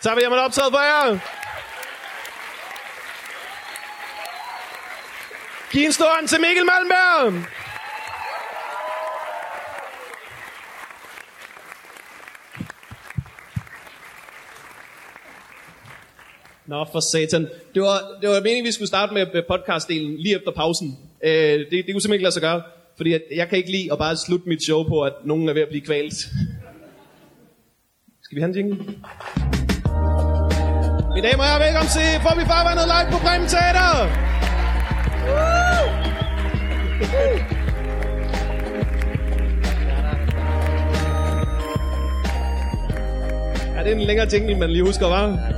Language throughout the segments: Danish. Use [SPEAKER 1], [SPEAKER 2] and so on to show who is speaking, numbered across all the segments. [SPEAKER 1] Så vil jeg man optaget for jer. Giv en stor hånd til Mikkel Malmberg. Nå, for satan. Det var, det var meningen, vi skulle starte med med podcastdelen lige efter pausen. Øh, det, det kunne simpelthen ikke lade sig gøre, fordi jeg, jeg kan ikke lide at bare slutte mit show på, at nogen er ved at blive kvalt. Skal vi have en jingle? Mine damer og herrer, velkommen til Forbi Farvandet live på Bremen Teater! Ja, det er en længere jingle, man lige husker, hva'?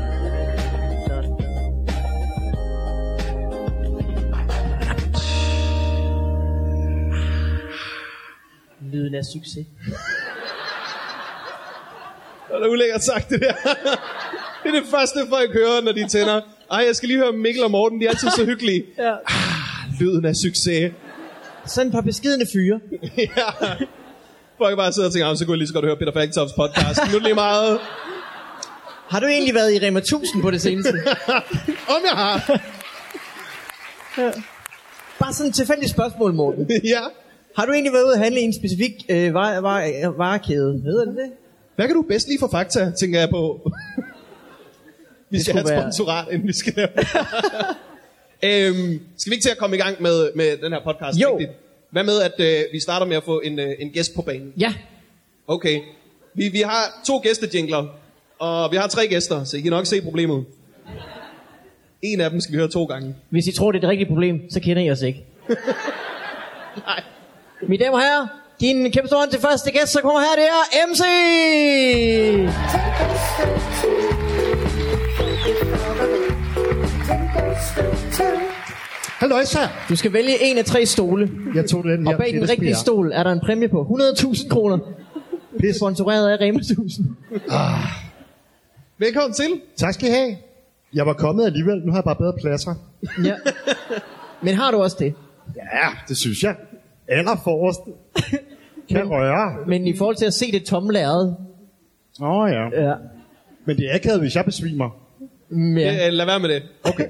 [SPEAKER 2] Lyden af succes.
[SPEAKER 1] Det er ulækkert sagt, det der. Det er det første, folk hører, når de tænder. Ej, jeg skal lige høre Mikkel og Morten, de er altid så hyggelige.
[SPEAKER 2] Ja.
[SPEAKER 1] Lyden af succes.
[SPEAKER 2] Sådan et par beskedende fyre.
[SPEAKER 1] ja. Folk bare sidder og tænker, "Ah, så kunne jeg lige så godt høre Peter Falktops podcast. Nu er det lige meget.
[SPEAKER 2] Har du egentlig været i Rema 1000 på det seneste?
[SPEAKER 1] Om jeg har.
[SPEAKER 2] Bare sådan et tilfældigt spørgsmål, Morten.
[SPEAKER 1] ja.
[SPEAKER 2] Har du egentlig været ude at handle i en specifik øh, vare, vare, varekæde? Hedder det det?
[SPEAKER 1] Hvad kan du bedst lide for fakta, tænker jeg på. vi skal have
[SPEAKER 2] skulle
[SPEAKER 1] et
[SPEAKER 2] være-
[SPEAKER 1] sponsorat, inden vi skal lave øhm, Skal vi ikke til at komme i gang med, med den her podcast?
[SPEAKER 2] Jo.
[SPEAKER 1] rigtigt? Hvad med, at øh, vi starter med at få en, øh, en gæst på banen?
[SPEAKER 2] Ja.
[SPEAKER 1] Okay. Vi, vi har to gæstejingler, og vi har tre gæster, så I kan nok se problemet. En af dem skal vi høre to gange.
[SPEAKER 2] Hvis I tror, det er det rigtige problem, så kender I os ikke.
[SPEAKER 1] Nej.
[SPEAKER 2] Mine damer og herrer, giv en kæmpe stor hånd til første gæst, så kommer her, det er MC!
[SPEAKER 3] Halløj så.
[SPEAKER 2] Du skal vælge en af tre stole,
[SPEAKER 3] Jeg tog den.
[SPEAKER 2] og
[SPEAKER 3] jeg-
[SPEAKER 2] bag
[SPEAKER 3] det er
[SPEAKER 2] den
[SPEAKER 3] det
[SPEAKER 2] rigtige
[SPEAKER 3] spiger.
[SPEAKER 2] stol er der en præmie på 100.000 kroner.
[SPEAKER 3] Pis.
[SPEAKER 2] Sponsoreret af Rema 1000.
[SPEAKER 1] Velkommen til.
[SPEAKER 3] Tak skal I have. Jeg var kommet alligevel. Nu har jeg bare bedre pladser.
[SPEAKER 2] Ja. Men har du også det?
[SPEAKER 3] Ja, det synes jeg. Aller forrest. Kan røre.
[SPEAKER 2] Men i forhold til at se det tomme lærred,
[SPEAKER 3] Åh oh, ja.
[SPEAKER 2] ja.
[SPEAKER 3] Men det er akavet, hvis jeg besvimer.
[SPEAKER 2] Mm, ja.
[SPEAKER 1] Ja. Øh, lad være med det. Okay.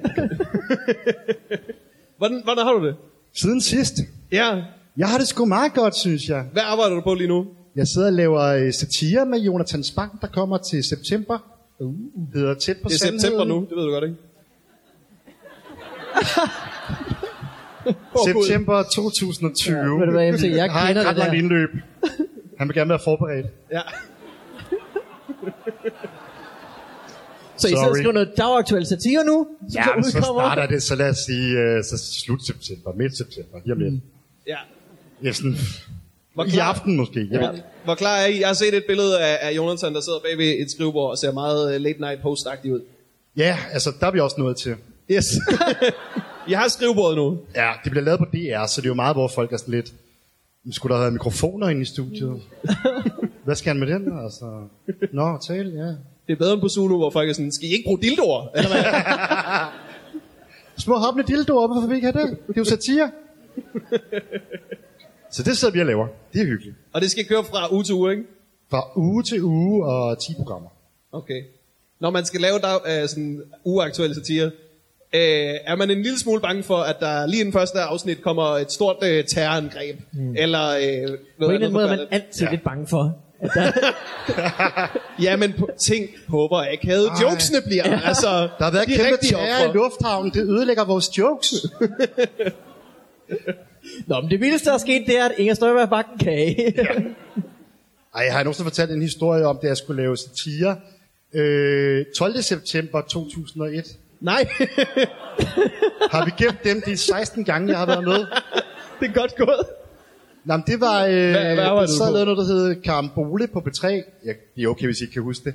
[SPEAKER 1] hvordan, hvordan har du det?
[SPEAKER 3] Siden sidst.
[SPEAKER 1] Ja.
[SPEAKER 3] Jeg har det sgu meget godt, synes jeg.
[SPEAKER 1] Hvad arbejder du på lige nu?
[SPEAKER 3] Jeg sidder og laver øh, satire med Jonathan Spang, der kommer til september. Uh. Hedder tæt på
[SPEAKER 1] Det er
[SPEAKER 3] sandheden.
[SPEAKER 1] september nu, det ved du godt, ikke? Åh, Gud.
[SPEAKER 3] September 2020. Ja,
[SPEAKER 2] ved du hvad, MC, jeg
[SPEAKER 3] har
[SPEAKER 2] kender
[SPEAKER 3] ikke ret
[SPEAKER 2] det der.
[SPEAKER 3] langt indløb. Han vil gerne være forberedt.
[SPEAKER 1] Ja.
[SPEAKER 2] Så I sidder og
[SPEAKER 3] Sorry.
[SPEAKER 2] skriver noget dagaktuel satire nu? som
[SPEAKER 3] Ja, men så
[SPEAKER 2] udkommer?
[SPEAKER 3] starter det, så lad os sige, øh, så slut september, midt september, lige om lidt.
[SPEAKER 1] ja.
[SPEAKER 3] Ja, sådan,
[SPEAKER 1] Hvor
[SPEAKER 3] I
[SPEAKER 1] klar-
[SPEAKER 3] aften måske. Jeg ja.
[SPEAKER 1] Hvor klar er I? Jeg har set et billede af, af Jonathan, der sidder bag ved et skrivebord og ser meget øh, late night host ud.
[SPEAKER 3] ja, altså, der er vi også nået til.
[SPEAKER 1] Yes. jeg har skrivebordet nu.
[SPEAKER 3] Ja, det bliver lavet på DR, så det er jo meget, hvor folk er sådan lidt, "Men skulle der have været mikrofoner inde i studiet? Hvad skal han med den? Altså, nå, tale, ja.
[SPEAKER 1] Det er bedre end på Zulu, hvor folk er sådan, skal I ikke bruge dildoer? Eller hvad?
[SPEAKER 3] Små hoppende dildoer, hvorfor vil vi ikke have det? Det er jo satire. Så det sidder vi og laver. Det er hyggeligt.
[SPEAKER 1] og det skal køre fra uge til uge, ikke?
[SPEAKER 3] Fra uge til uge og 10 programmer.
[SPEAKER 1] Okay. Når man skal lave dag, øh, sådan uaktuelle satire, øh, er man en lille smule bange for, at der lige inden første afsnit kommer et stort øh, terrorangreb? Mm. Eller øh, noget
[SPEAKER 2] På en
[SPEAKER 1] andet
[SPEAKER 2] eller anden måde er man
[SPEAKER 1] forfærdeligt?
[SPEAKER 2] altid ja. lidt bange for. At der,
[SPEAKER 1] Ja, men på, ting håber jeg ikke havde.
[SPEAKER 3] Ej.
[SPEAKER 1] Jokesene bliver, altså...
[SPEAKER 3] Der har været
[SPEAKER 1] de
[SPEAKER 3] kæmpe
[SPEAKER 1] rigtige
[SPEAKER 3] terror i
[SPEAKER 1] ofre.
[SPEAKER 3] lufthavnen. Det ødelægger vores jokes.
[SPEAKER 2] Nå, men det vildeste, der er sket, det er, at Inger Støjberg bakken en kage.
[SPEAKER 3] Ej, har jeg nogensinde fortalt en historie om, da jeg skulle lave satire? Øh, 12. september 2001.
[SPEAKER 1] Nej,
[SPEAKER 3] Har vi gemt dem de 16 gange, jeg har været med?
[SPEAKER 1] det er godt gået.
[SPEAKER 3] Nå, men det var... Øh, hvad,
[SPEAKER 1] hvad var det
[SPEAKER 3] så
[SPEAKER 1] på?
[SPEAKER 3] lavede noget, der hed Karambole på B3. Ja, det er okay, hvis I ikke kan huske det.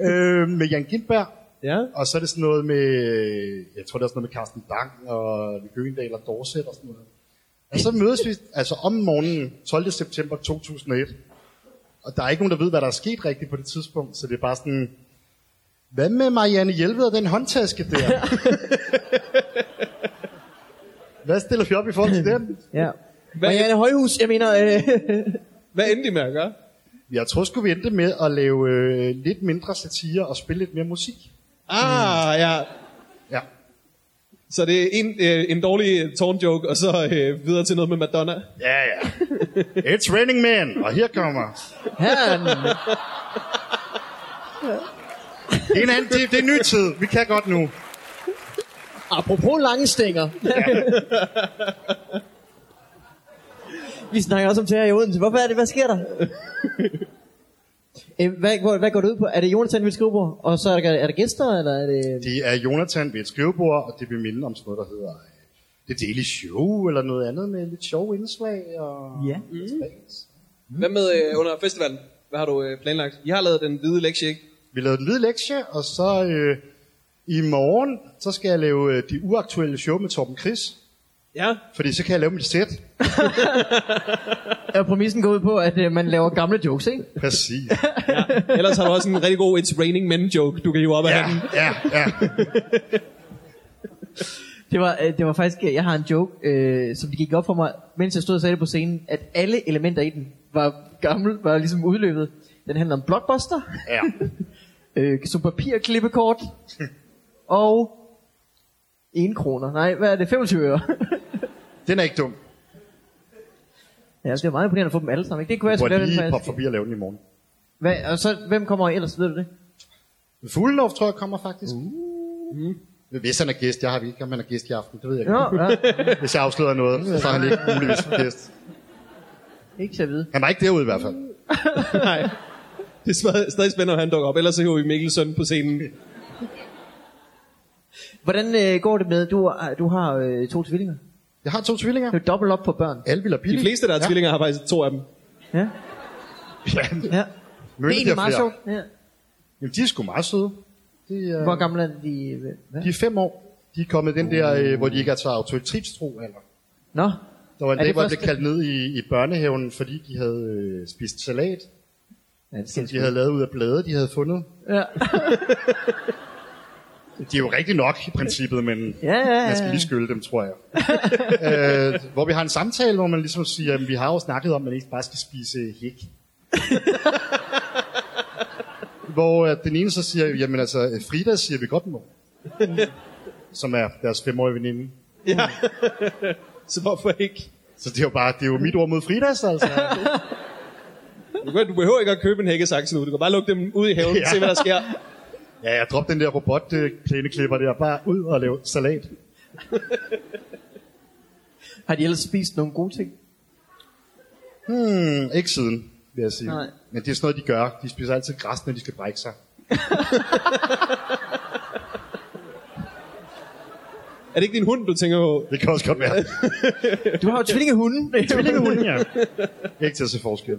[SPEAKER 3] Øh, med Jan Gindberg.
[SPEAKER 1] Ja.
[SPEAKER 3] Og så er det sådan noget med... Jeg tror, det er sådan noget med Carsten Bang og Gøendal og Dorset og sådan noget. Og så mødes vi altså om morgenen 12. september 2001. Og der er ikke nogen, der ved, hvad der er sket rigtigt på det tidspunkt. Så det er bare sådan... Hvad med Marianne Hjelved og den håndtaske der? hvad stiller vi op i forhold til den?
[SPEAKER 2] ja.
[SPEAKER 1] Hvad-
[SPEAKER 2] Marianne Højhus, jeg mener... Øh,
[SPEAKER 1] Hvad endte de med at gøre?
[SPEAKER 3] Jeg tror sgu, vi endte med at lave øh, lidt mindre satire og spille lidt mere musik.
[SPEAKER 1] Ah, ja.
[SPEAKER 3] Ja.
[SPEAKER 1] Så det er en, øh, en dårlig tårnjoke, og så øh, videre til noget med Madonna.
[SPEAKER 3] Ja, ja. It's raining man, og her kommer.
[SPEAKER 2] Her er den.
[SPEAKER 3] Det er en, anden, det, det er en ny tid. Vi kan godt nu.
[SPEAKER 2] Apropos lange stænger. Vi snakker også om terror i Odense. Hvorfor er det? Hvad sker der? Æm, hvad, hvor, hvad går det ud på? Er det Jonathan ved skrivebord? Og så er der, er der gæster, eller er det...
[SPEAKER 3] Det er Jonathan ved et skrivebord, og det vil minde om sådan noget, der hedder øh, det dele show, eller noget andet med lidt sjove indslag. Og... Mm.
[SPEAKER 2] Ja.
[SPEAKER 1] Hvad med øh, under festivalen? Hvad har du øh, planlagt? I har lavet den hvide lektie, ikke?
[SPEAKER 3] Vi lavede en lille lektie, og så øh, i morgen, så skal jeg lave øh, de uaktuelle show med Torben Chris.
[SPEAKER 1] Ja.
[SPEAKER 3] Fordi så kan jeg lave mit sæt.
[SPEAKER 2] Er præmissen går ud på, at øh, man laver gamle jokes, ikke?
[SPEAKER 3] Præcis.
[SPEAKER 1] Ellers har du også en rigtig god It's Raining Men joke, du kan jo op af
[SPEAKER 3] Ja,
[SPEAKER 1] ja. den.
[SPEAKER 3] ja, ja.
[SPEAKER 2] Det var, øh, det var faktisk, jeg har en joke, øh, som det gik op for mig, mens jeg stod og sagde det på scenen, at alle elementer i den var gammel, var ligesom udløbet. Den handler om blockbuster,
[SPEAKER 3] ja.
[SPEAKER 2] øh, som papirklippekort, og 1 kroner. Nej, hvad er det? 25 øre.
[SPEAKER 3] Den er ikke dum.
[SPEAKER 2] ja, det er meget imponerende at få dem alle sammen. Ikke? Det kunne jeg
[SPEAKER 3] Hvor
[SPEAKER 2] sgu lave den
[SPEAKER 3] lige pop
[SPEAKER 2] faktisk.
[SPEAKER 3] forbi og lave den i morgen.
[SPEAKER 2] Hvad, og så, hvem kommer ellers, ved du det?
[SPEAKER 3] Fuglendorf tror jeg kommer faktisk. Uh. Mm. Hvis han er gæst, jeg har ikke, om han er gæst i aften, det ved jeg ikke.
[SPEAKER 2] Nå, ja,
[SPEAKER 3] Hvis jeg afslører noget, så er han ikke muligvis gæst.
[SPEAKER 2] ikke så at vide.
[SPEAKER 3] Han var ikke derude i hvert fald.
[SPEAKER 1] Nej. Det er stadig- stadig spændende, at han dukker op. Ellers så hiver vi Mikkel Søn på scenen.
[SPEAKER 2] Hvordan øh, går det med, du, har- du har øh, to tvillinger?
[SPEAKER 3] Jeg har to tvillinger.
[SPEAKER 2] Du er dobbelt op på børn.
[SPEAKER 3] Alvin og Billy.
[SPEAKER 1] De fleste, der er ja.
[SPEAKER 3] ja.
[SPEAKER 1] tvillinger, har faktisk to af dem.
[SPEAKER 2] Ja,
[SPEAKER 3] Ja,
[SPEAKER 2] ja.
[SPEAKER 3] mødte
[SPEAKER 2] det er egentlig meget
[SPEAKER 3] flere.
[SPEAKER 2] sjovt. Ja.
[SPEAKER 3] Jamen, de er sgu meget søde. De, øh,
[SPEAKER 2] Hvor gamle er de? Hvad?
[SPEAKER 3] de er fem år. De er kommet den der, øh, hvor de ikke er så autoritetstro alder.
[SPEAKER 2] Nå,
[SPEAKER 3] Der var en
[SPEAKER 2] Er
[SPEAKER 3] dag,
[SPEAKER 2] det
[SPEAKER 3] hvor jeg
[SPEAKER 2] første-
[SPEAKER 3] blev kaldt ned i, i børnehaven, fordi de havde øh, spist salat,
[SPEAKER 2] ja, det
[SPEAKER 3] som
[SPEAKER 2] skal
[SPEAKER 3] de havde lavet ud af blade, de havde fundet.
[SPEAKER 2] Ja.
[SPEAKER 3] De er jo rigtig nok i princippet, men
[SPEAKER 2] Ja, ja, ja.
[SPEAKER 3] man skal lige skylde dem, tror jeg. øh, hvor vi har en samtale, hvor man ligesom siger, at vi har jo snakket om, at man ikke bare skal spise hæk. hvor øh, den ene så siger, jamen altså, øh, Frida siger vi godt mor. som er deres femårige veninde.
[SPEAKER 1] Ja. Mm. så hvorfor ikke?
[SPEAKER 3] Så det er jo bare, det er jo mit ord mod Fridas, altså.
[SPEAKER 1] Du, kan, du behøver ikke at købe en hækkesaks nu. Du kan bare lukke dem ud i haven ja.
[SPEAKER 3] Ja.
[SPEAKER 1] og se, hvad der sker.
[SPEAKER 3] Ja, jeg drop den der robotplæneklipper der, bare ud og lave salat.
[SPEAKER 2] Har de ellers spist nogle gode ting?
[SPEAKER 3] Hmm, ikke siden, vil jeg sige.
[SPEAKER 2] Nej.
[SPEAKER 3] Men det er sådan noget, de gør. De spiser altid græs, når de skal brække sig.
[SPEAKER 1] Er det ikke din hund, du tænker på?
[SPEAKER 3] Det kan også godt være.
[SPEAKER 2] Du har jo tvillingehunde.
[SPEAKER 3] Tvillingehunde, ja. Ikke til at se forskel.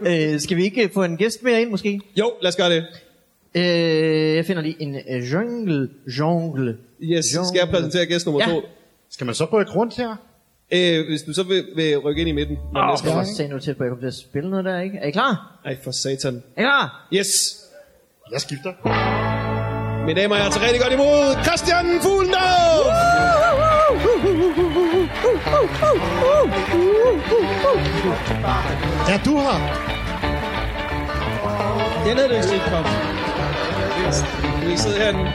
[SPEAKER 2] øh, skal vi ikke få en gæst mere ind, måske?
[SPEAKER 1] Jo, lad os gøre det.
[SPEAKER 2] Øh, jeg finder lige en øh, jungle. Jungle.
[SPEAKER 1] Yes, skal jeg præsentere gæst nummer
[SPEAKER 2] Ja.
[SPEAKER 1] to?
[SPEAKER 3] Skal man så rykke rundt her?
[SPEAKER 1] Øh, hvis du så vil, vil rykke ind i midten. når
[SPEAKER 2] Åh,
[SPEAKER 1] næste
[SPEAKER 2] oh,
[SPEAKER 1] gang.
[SPEAKER 2] for nu til, at jeg kommer til at spille noget der, ikke? Er I klar?
[SPEAKER 1] Ej, for satan.
[SPEAKER 2] Er I klar?
[SPEAKER 1] Yes!
[SPEAKER 3] Jeg skifter.
[SPEAKER 1] Mine damer og herrer, til rigtig godt imod Christian Fuglendorf!
[SPEAKER 3] Ja, du har.
[SPEAKER 1] Den havde du ikke set komme. Vi sidder herinde.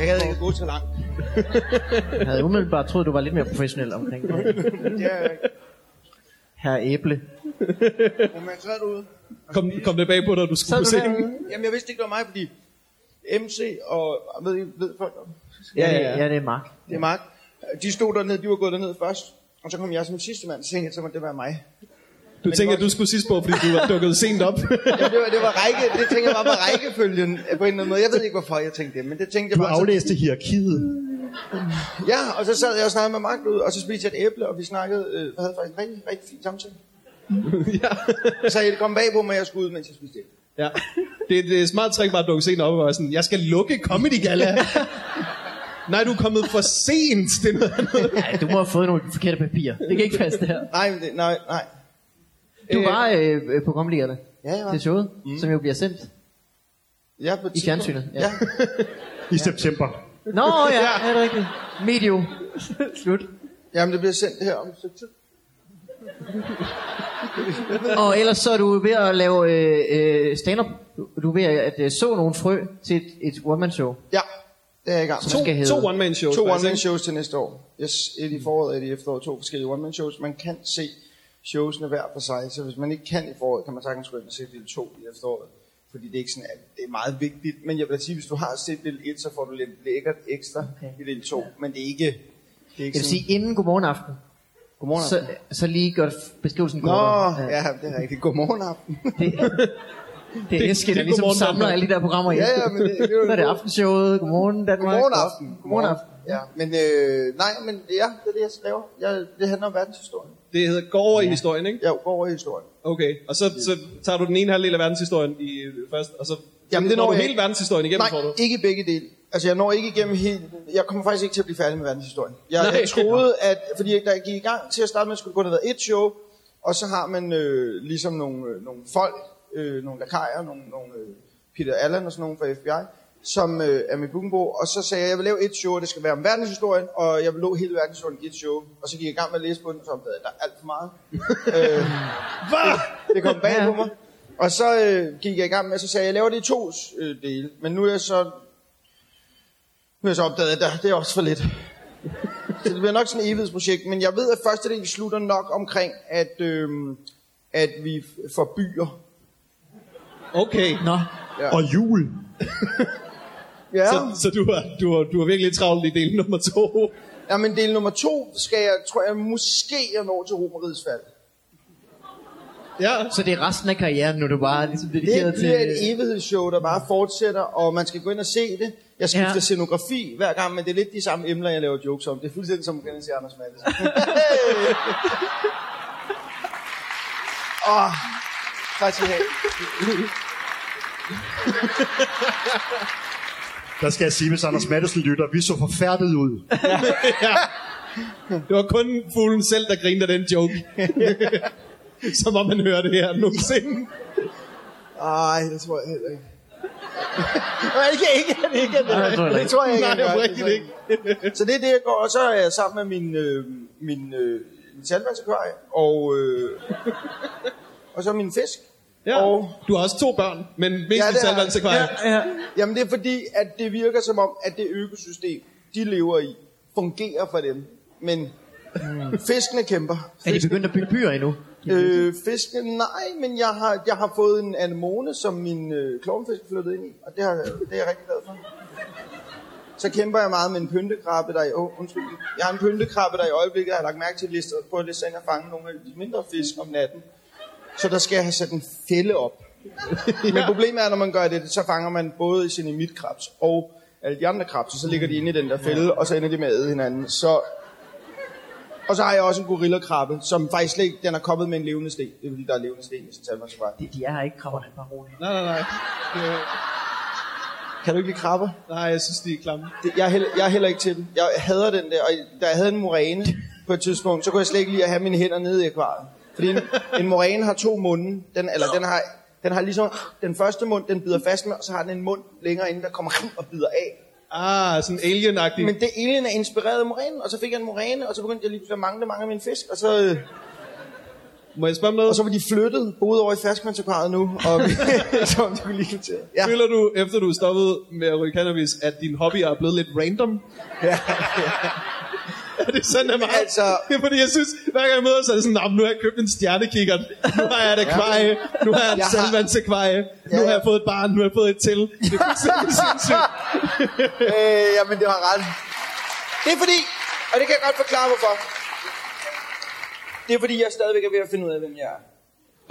[SPEAKER 4] Jeg gad ikke gå så langt.
[SPEAKER 2] Jeg havde umiddelbart troet, du var lidt mere professionel omkring det. her.
[SPEAKER 4] Det er jeg ikke.
[SPEAKER 2] Herre Æble.
[SPEAKER 4] Hvor man sad derude.
[SPEAKER 1] Kom, kom det bag på dig, du
[SPEAKER 2] Så er
[SPEAKER 1] skulle
[SPEAKER 2] du
[SPEAKER 1] se.
[SPEAKER 2] derude.
[SPEAKER 4] Jamen, jeg vidste ikke, det var mig, fordi MC og, ved, I- ved folk, om-
[SPEAKER 1] Ja,
[SPEAKER 2] det-
[SPEAKER 1] ja, ja.
[SPEAKER 2] ja, det er Mark.
[SPEAKER 4] det er Mark, de stod dernede, de var gået derned først, og så kom jeg som sidste mand, så tænkte jeg, så må det være mig.
[SPEAKER 1] Du tænker, at du skulle sidst på, fordi du var dukket sent op.
[SPEAKER 4] Ja, det var, det var række, det tænkte jeg bare var rækkefølgen øh, på en eller anden måde. Jeg ved ikke, hvorfor jeg tænkte det, men det tænkte jeg
[SPEAKER 3] Du
[SPEAKER 4] bare. Så,
[SPEAKER 3] aflæste hierarkiet.
[SPEAKER 4] ja, og så sad jeg og snakkede med Mark ud, og så spiste jeg et æble, og vi snakkede, øh, havde faktisk en rigtig, rigtig fin samtale.
[SPEAKER 1] ja.
[SPEAKER 4] Så jeg det kom bag på mig, at jeg skulle ud, mens jeg spiste æble.
[SPEAKER 1] ja. Det, det er et smart trick bare at dukke sent op og være sådan, jeg skal lukke Comedy Gala. Nej, du er kommet for sent. Det er noget andet.
[SPEAKER 2] Ej, du må have fået nogle forkerte papirer. Det kan ikke passe det her.
[SPEAKER 4] Nej, men det, nej, nej.
[SPEAKER 2] Du
[SPEAKER 1] Øh.
[SPEAKER 2] var øh, øh, på kommeligerne.
[SPEAKER 4] Ja, jeg var.
[SPEAKER 2] Det showet, mm. som jo bliver sendt.
[SPEAKER 4] Jeg er på et tidspunkt-
[SPEAKER 2] fjernsynet, ja.
[SPEAKER 4] Ja.
[SPEAKER 3] I september.
[SPEAKER 2] Nå ja, ja. er det rigtigt? Medio. Slut.
[SPEAKER 4] Jamen, det bliver sendt her om et stykke tid.
[SPEAKER 2] Og ellers så er du ved at lave øh, øh, stand-up. Du, du er ved at øh, så nogle frø til et, et one-man-show.
[SPEAKER 4] Ja, det er jeg i gang med.
[SPEAKER 2] Som skal hedde-
[SPEAKER 1] To one-man-shows.
[SPEAKER 4] To
[SPEAKER 1] faktisk,
[SPEAKER 4] one-man
[SPEAKER 1] ikke? Mm.
[SPEAKER 4] shows til næste år. Yes, et i foråret og et i efteråret. To forskellige one-man shows. Man kan se showsene hver for sig, så hvis man ikke kan i foråret, kan man sagtens gå ind og se del 2 i efteråret. Fordi det er ikke sådan, at det er meget vigtigt. Men jeg vil da sige, hvis du har set del 1, så får du lidt lækkert ekstra okay. i del 2. Men det er ikke... Det er
[SPEAKER 2] Jeg
[SPEAKER 4] ikke
[SPEAKER 2] vil
[SPEAKER 4] sådan,
[SPEAKER 2] sige, inden godmorgen aften,
[SPEAKER 4] godmorgen
[SPEAKER 2] så,
[SPEAKER 4] aften.
[SPEAKER 2] så lige gør f- beskrivelsen
[SPEAKER 4] Nå,
[SPEAKER 2] kortere.
[SPEAKER 4] ja, det er rigtigt. Godmorgen aften.
[SPEAKER 2] Det, det er Eske,
[SPEAKER 1] det
[SPEAKER 2] der
[SPEAKER 1] er
[SPEAKER 2] ligesom
[SPEAKER 1] Godmorgen
[SPEAKER 2] samler
[SPEAKER 1] Danmark.
[SPEAKER 2] alle de der programmer i.
[SPEAKER 4] Ja, ja, men det- det er jo en
[SPEAKER 2] Så er det
[SPEAKER 4] god-
[SPEAKER 2] aftenshowet, godmorgen Danmark.
[SPEAKER 4] Godmorgen aften.
[SPEAKER 2] Godmorgen aften.
[SPEAKER 4] Ja, men øh, nej, men ja, det er det, jeg laver. Jeg, det handler om verdenshistorien.
[SPEAKER 1] Det hedder Gå over i historien, ikke?
[SPEAKER 4] Jeg går over i historien.
[SPEAKER 1] Okay, og så, så tager du den ene halvdel af verdenshistorien i øh, først, og så
[SPEAKER 4] Jamen, det
[SPEAKER 1] når
[SPEAKER 4] når
[SPEAKER 1] du
[SPEAKER 4] jeg
[SPEAKER 1] hele
[SPEAKER 4] ikke.
[SPEAKER 1] verdenshistorien igennem, får
[SPEAKER 4] Nej,
[SPEAKER 1] du.
[SPEAKER 4] ikke begge dele. Altså, jeg når ikke igennem hele... Jeg kommer faktisk ikke til at blive færdig med verdenshistorien. Jeg,
[SPEAKER 1] Nej.
[SPEAKER 4] jeg troede, at... Fordi da jeg gik i gang til at starte med, skulle det kun have været et show, og så har man øh, ligesom nogle, øh, nogle folk, øh, nogle lakajer, nogle, nogle øh, Peter Allen og sådan nogle fra FBI, som øh, er min bookingbo, og så sagde jeg, at jeg vil lave et show, og det skal være om verdenshistorien, og jeg vil lå hele verdenshistorien i et show. Og så gik jeg i gang med at læse på den, og så opdagede jeg, at der er alt for meget. øh, det, det kom bag på mig. Og så øh, gik jeg i gang med, og så sagde jeg, jeg laver det i to øh, dele. Men nu er jeg så, nu er jeg så opdaget, at der, det er også for lidt. så det bliver nok sådan et evighedsprojekt. Men jeg ved, at første del slutter nok omkring, at, øh, at vi f- får byer.
[SPEAKER 1] Okay,
[SPEAKER 2] Nå,
[SPEAKER 3] Og jul.
[SPEAKER 4] Ja.
[SPEAKER 1] så, så du, har, du, har, du har virkelig travlt i del nummer to.
[SPEAKER 4] ja, men del nummer to skal jeg, tror jeg, måske jeg når til Romerigets fald.
[SPEAKER 1] Ja,
[SPEAKER 2] så det er resten af karrieren, nu du bare er ligesom dedikeret
[SPEAKER 4] Det
[SPEAKER 2] til...
[SPEAKER 4] bliver et evighedsshow, der bare fortsætter, og man skal gå ind og se det. Jeg skifter
[SPEAKER 2] Ja.
[SPEAKER 4] ja. scenografi hver gang, men det er lidt de samme emner, jeg laver jokes om. Det er fuldstændig som at se Anders Mattesen. Åh, tak skal I have.
[SPEAKER 3] Der skal jeg sige, hvis Anders Madsen lytter, vi så forfærdet ud.
[SPEAKER 1] det var kun fuglen selv, der grinede af den joke. Som om man hører det her nogensinde.
[SPEAKER 4] Ej, det tror jeg heller ikke. Nej, ikke, ikke, ikke, ikke.
[SPEAKER 2] Nej, det tror jeg
[SPEAKER 4] det
[SPEAKER 2] ikke.
[SPEAKER 4] tror jeg ikke.
[SPEAKER 1] Nej,
[SPEAKER 4] jeg gør. Det
[SPEAKER 1] oprigtigt
[SPEAKER 4] tror jeg
[SPEAKER 1] ikke.
[SPEAKER 4] Så det er det, jeg går, og så er jeg sammen med min, øh, min, øh, min salgværksakvarie, og, øh, og så min fisk.
[SPEAKER 1] Ja.
[SPEAKER 4] Og
[SPEAKER 1] Du har også to børn, men mest
[SPEAKER 4] Ja,
[SPEAKER 1] ja,
[SPEAKER 4] det har
[SPEAKER 1] i
[SPEAKER 4] jeg.
[SPEAKER 1] ja.
[SPEAKER 2] Ja.
[SPEAKER 4] Jamen det er fordi, at det virker som om, at det økosystem, de lever i, fungerer for dem. Men fiskene kæmper.
[SPEAKER 2] Mm. Er de begyndt at bygge byer endnu?
[SPEAKER 4] Øh, fiskene, nej, men jeg har, jeg har fået en anemone, som min øh, klovnfisk flyttede ind i, og det, har, det er jeg rigtig glad for. Så kæmper jeg meget med en pyntekrabbe, der i... Oh, undskyld. Jeg har en pyntekrabbe, der i øjeblikket har lagt mærke til, at jeg prøver lidt at fange nogle af de mindre fisk om natten. Så der skal jeg have sat en fælde op. Men problemet er, når man gør det, så fanger man både sin emitkrabs og alle de andre krabs, og så ligger de inde i den der fælde, og så ender de med at æde hinanden. Så... Og så har jeg også en gorillakrabbe, som faktisk slet ikke, den er kommet med en levende sten. Det er fordi, der er levende sten i sin salmansvej.
[SPEAKER 2] De, de er her ikke, krabberne bare roligt.
[SPEAKER 1] Nej, nej, nej. Det-
[SPEAKER 4] Kan du ikke lide krabber?
[SPEAKER 1] Nej, jeg synes, de er klamme.
[SPEAKER 4] Det, jeg, er heller, jeg er heller ikke til dem. Jeg hader den der, og da jeg havde en moræne på et tidspunkt, så kunne jeg slet ikke lide at have mine hænder nede i akvariet. Fordi en, en moræne har to munde, den, eller den har, den har ligesom, den første mund, den bider fast med, og så har den en mund længere inde, der kommer og bider af.
[SPEAKER 1] Ah, sådan alien
[SPEAKER 4] Men det alien er inspireret af morænen, og så fik jeg en moræne, og så begyndte jeg lige pludselig at mangle mange af mine fisk, og så, øh,
[SPEAKER 1] Må jeg spørge om
[SPEAKER 4] og
[SPEAKER 1] noget?
[SPEAKER 4] så var de flyttet, boede over i ferskvandsakvariet nu, og så om de kunne lide til. Ja,
[SPEAKER 1] Føler du, efter du stoppede med at ryge cannabis, at din hobby er blevet lidt random? Ja. er det sådan, at man...
[SPEAKER 4] Altså-
[SPEAKER 1] Det er fordi, jeg synes, hver gang jeg møder, så er det sådan, "Nå, men nu har jeg købt en stjernekikkert, nu har jeg et akvarie, nu har jeg et
[SPEAKER 4] Jeg har-
[SPEAKER 1] salvandsakvarie, nu
[SPEAKER 4] Ja, ja.
[SPEAKER 1] har jeg fået et barn, nu har jeg fået et til. Det er fuldstændig sindssygt.
[SPEAKER 4] øh, jamen det var ret. Det er fordi, og det kan jeg godt forklare hvorfor. Det er fordi, jeg stadigvæk er ved at finde ud af, hvem jeg er.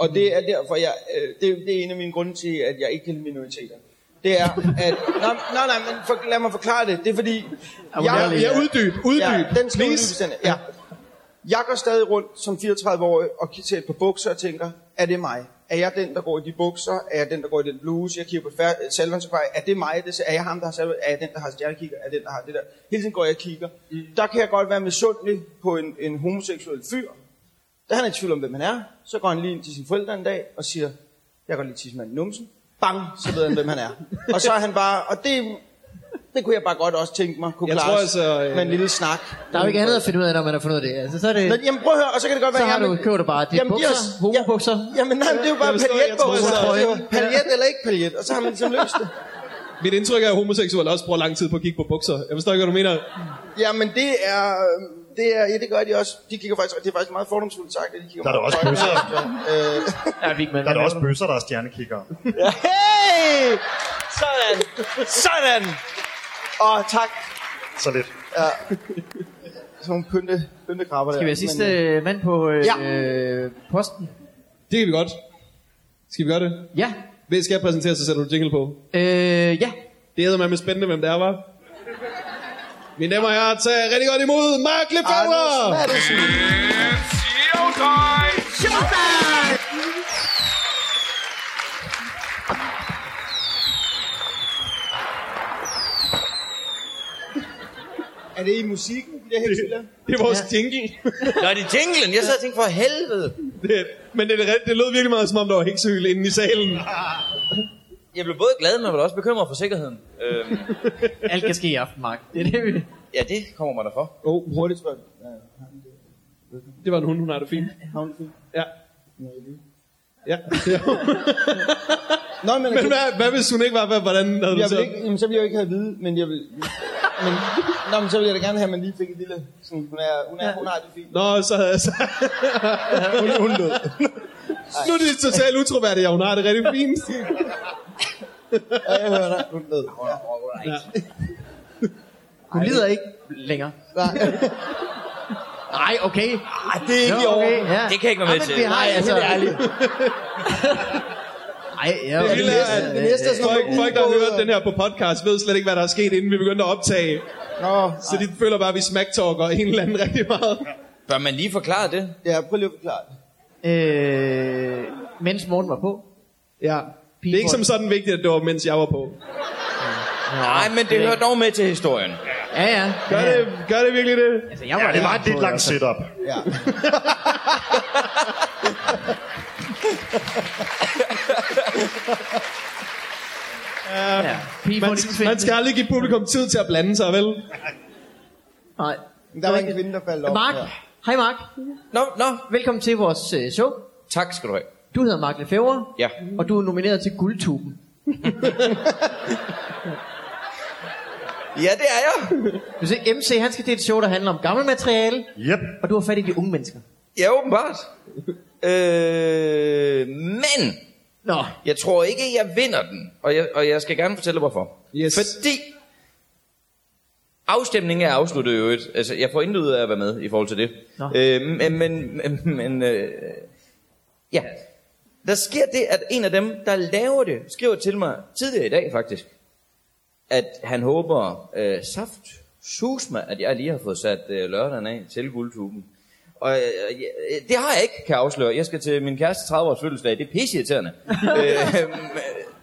[SPEAKER 4] Og det er derfor, jeg, øh, det, det er en af mine grunde til, at jeg ikke kan lide minoriteter. Det er, at... Nej, nej, nej men for, lad mig forklare det. Det er fordi...
[SPEAKER 1] Ja,
[SPEAKER 2] ærlig,
[SPEAKER 1] ja, uddyb, uddyb,
[SPEAKER 4] Ja, den skal
[SPEAKER 1] please.
[SPEAKER 4] uddybe, den er- Ja. Jeg går stadig rundt som 34-årig og kigger til et par bukser og tænker, er det mig? Er jeg den, der går i de bukser? Er jeg den, der går i den bluse? Jeg kigger på fær- salvansakvej. Er det mig? Det, er jeg ham, der har salvan? Er jeg den, der har stjernekikker? Er jeg den, der har det der? Hele tiden går jeg og kigger. Mm. Der kan jeg godt være misundelig på en, en homoseksuel fyr. Da han er i tvivl om, hvem han er, så går han lige ind til sine forældre en dag og siger, jeg kan godt lide tissemanden i numsen. Bang, så ved han, hvem han er. Og så er han bare, og det Det kunne jeg bare godt også tænke mig kunne
[SPEAKER 1] Jeg
[SPEAKER 4] klares
[SPEAKER 1] tror altså, øh,
[SPEAKER 4] med en lille snak.
[SPEAKER 2] Der er jo ikke andet at finde ud af, når man har fundet ud af det. Altså, så er det...
[SPEAKER 4] Men jamen prøv at høre, og så kan det godt
[SPEAKER 2] Så
[SPEAKER 4] være,
[SPEAKER 2] har
[SPEAKER 4] jamen,
[SPEAKER 2] du købt dig bare dit
[SPEAKER 4] jamen, de
[SPEAKER 2] bukser,
[SPEAKER 4] er også-
[SPEAKER 2] homobukser.
[SPEAKER 4] Ja, jamen nej, men det er jo bare
[SPEAKER 1] Jeg forstår, jeg tror,
[SPEAKER 4] paljetbukser.
[SPEAKER 1] jeg
[SPEAKER 4] Det er jo
[SPEAKER 2] tror-
[SPEAKER 4] Paljet eller ikke paljet, og så har man ligesom løst det.
[SPEAKER 1] Mit indtryk er, at homoseksuelle også bruger lang tid på at kigge på bukser. Jeg forstår ikke, hvad du mener.
[SPEAKER 4] Jamen det er, øhm, det er, ja, det gør de også. De kigger faktisk, det er faktisk meget fordomsfuldt sagt, at de kigger
[SPEAKER 3] Der er der
[SPEAKER 4] meget
[SPEAKER 3] også
[SPEAKER 4] på tøj.
[SPEAKER 3] bøsser.
[SPEAKER 4] Øh,
[SPEAKER 2] Ja, Vigman,
[SPEAKER 3] Der er da
[SPEAKER 2] hvad
[SPEAKER 3] også
[SPEAKER 2] laver du?
[SPEAKER 3] bøsser, der er stjernekikkere.
[SPEAKER 4] ja. Hey! Sådan! Sådan! Øh, Åh, tak.
[SPEAKER 3] Så lidt.
[SPEAKER 4] Ja. Sådan nogle pynte, pyntekrabber der.
[SPEAKER 2] Skal vi have sidste øh, mand på øh,
[SPEAKER 4] Ja.
[SPEAKER 2] øh, posten?
[SPEAKER 1] Det kan vi godt. Skal vi gøre det?
[SPEAKER 2] Ja.
[SPEAKER 1] Hvis skal jeg præsentere, så sætter du jingle på.
[SPEAKER 2] Øh, ja.
[SPEAKER 1] Det hedder man med spændende, hvem det er, var. Mine damer og herrer, tag rigtig godt imod Mark Lefebvre!
[SPEAKER 4] Anders Madsen. Er det i musikken, de der hælder?
[SPEAKER 1] Det er vores jingle.
[SPEAKER 5] Nå, det er jinglen. Jeg sad og tænkte, for helvede.
[SPEAKER 1] det, men det, det, det lød virkelig meget, som om der var heksehyl inde i salen.
[SPEAKER 5] Jeg blev både glad, men var også bekymret for sikkerheden. Øhm,
[SPEAKER 2] Alt kan ske i aften, Mark. Det er det, vi...
[SPEAKER 5] ja, det kommer man da for.
[SPEAKER 1] Åh, oh,
[SPEAKER 4] Hurtigt, tror jeg. Ja,
[SPEAKER 1] det var en hund, hun har det fint.
[SPEAKER 4] havn fint.
[SPEAKER 1] Ja. Ja.
[SPEAKER 4] Nå, men,
[SPEAKER 1] men hvad, hvad hvis hun ikke var? Hvad, hvordan havde du
[SPEAKER 4] jeg
[SPEAKER 1] så?
[SPEAKER 4] vil ikke, jamen, så vil jeg jo ikke have at vide, men jeg vil... Men, nå, men så vil jeg da gerne have, at man lige fik et lille... Sådan, hun, er, hun, er, hun har det fint.
[SPEAKER 1] Nå, så havde jeg så... hun, hun lød. nu er det totalt utroværdigt, ja, hun har det rigtig fint.
[SPEAKER 4] Ja, jeg hører dig. Hun ved. Ja.
[SPEAKER 2] Hun lider ikke længere.
[SPEAKER 4] Nej.
[SPEAKER 2] Nej, okay.
[SPEAKER 5] Ej, det er
[SPEAKER 2] Nå, okay, ja.
[SPEAKER 5] Det kan jeg ikke være med
[SPEAKER 2] Ej, men
[SPEAKER 5] til.
[SPEAKER 2] vi har
[SPEAKER 5] Nej,
[SPEAKER 2] altså...
[SPEAKER 5] helt ærligt.
[SPEAKER 2] Nej, ja,
[SPEAKER 1] Det vilde er, at
[SPEAKER 4] det næste er sådan
[SPEAKER 1] folk,
[SPEAKER 4] noget
[SPEAKER 1] folk, der har
[SPEAKER 4] ubåde.
[SPEAKER 1] hørt den her på podcast, ved slet ikke, hvad der er sket, inden vi begyndte at optage.
[SPEAKER 4] Nå,
[SPEAKER 1] Så de føler bare, at vi smacktalker en eller anden rigtig meget.
[SPEAKER 5] Bør man lige forklare det?
[SPEAKER 4] ja, prøv lige at forklare det.
[SPEAKER 2] Øh, mens Morten var på.
[SPEAKER 1] Ja. Det er ikke som sådan vigtigt, at det var, mens jeg var på.
[SPEAKER 5] Nej, men det hører dog med til historien.
[SPEAKER 2] Ja, ja.
[SPEAKER 1] Gør,
[SPEAKER 2] ja.
[SPEAKER 1] det, gør det virkelig det?
[SPEAKER 2] Altså, jeg
[SPEAKER 3] Ja,
[SPEAKER 2] var
[SPEAKER 3] det var
[SPEAKER 2] ikke
[SPEAKER 3] et lidt
[SPEAKER 2] på,
[SPEAKER 3] langt
[SPEAKER 2] altså.
[SPEAKER 3] setup.
[SPEAKER 4] Ja.
[SPEAKER 2] Ja. Pige får
[SPEAKER 1] Man,
[SPEAKER 2] en kvinde.
[SPEAKER 1] man skal aldrig give publikum tid til at blande sig, vel?
[SPEAKER 2] Nej.
[SPEAKER 4] Men der var en kvinde, der faldt op.
[SPEAKER 2] Mark.
[SPEAKER 4] Ja.
[SPEAKER 2] Hej, Mark.
[SPEAKER 5] Nå, nå.
[SPEAKER 2] Velkommen til vores øh, show.
[SPEAKER 5] Tak skal du have.
[SPEAKER 2] Du hedder Mark Lefebvre.
[SPEAKER 5] Ja.
[SPEAKER 2] Og du er nomineret til Guldtuben.
[SPEAKER 5] Ja, det er jeg.
[SPEAKER 2] Du ser, MC, han skal til et show, der handler om gammelt materiale,
[SPEAKER 3] Yep.
[SPEAKER 2] og du har fat i de unge mennesker.
[SPEAKER 5] Ja, åbenbart. Øh, men
[SPEAKER 2] Nå,
[SPEAKER 5] jeg tror ikke, jeg vinder den. Og jeg, og jeg skal gerne fortælle, hvorfor.
[SPEAKER 1] Yes.
[SPEAKER 5] Fordi afstemningen er afsluttet i øvrigt. Altså, jeg får intet ud af at være med i forhold til det.
[SPEAKER 2] Nå.
[SPEAKER 5] Øh, men men, men, men øh, ja, der sker det, at en af dem, der laver det, skriver til mig tidligere i dag faktisk, at han håber øh, saft sus mig, at jeg lige har fået sat øh, lørdagen af til guldtuben. Og øh, øh, det har jeg ikke, kan jeg afsløre. Jeg skal til min kæreste 30 års fødselsdag. Det er pisseirriterende. øh,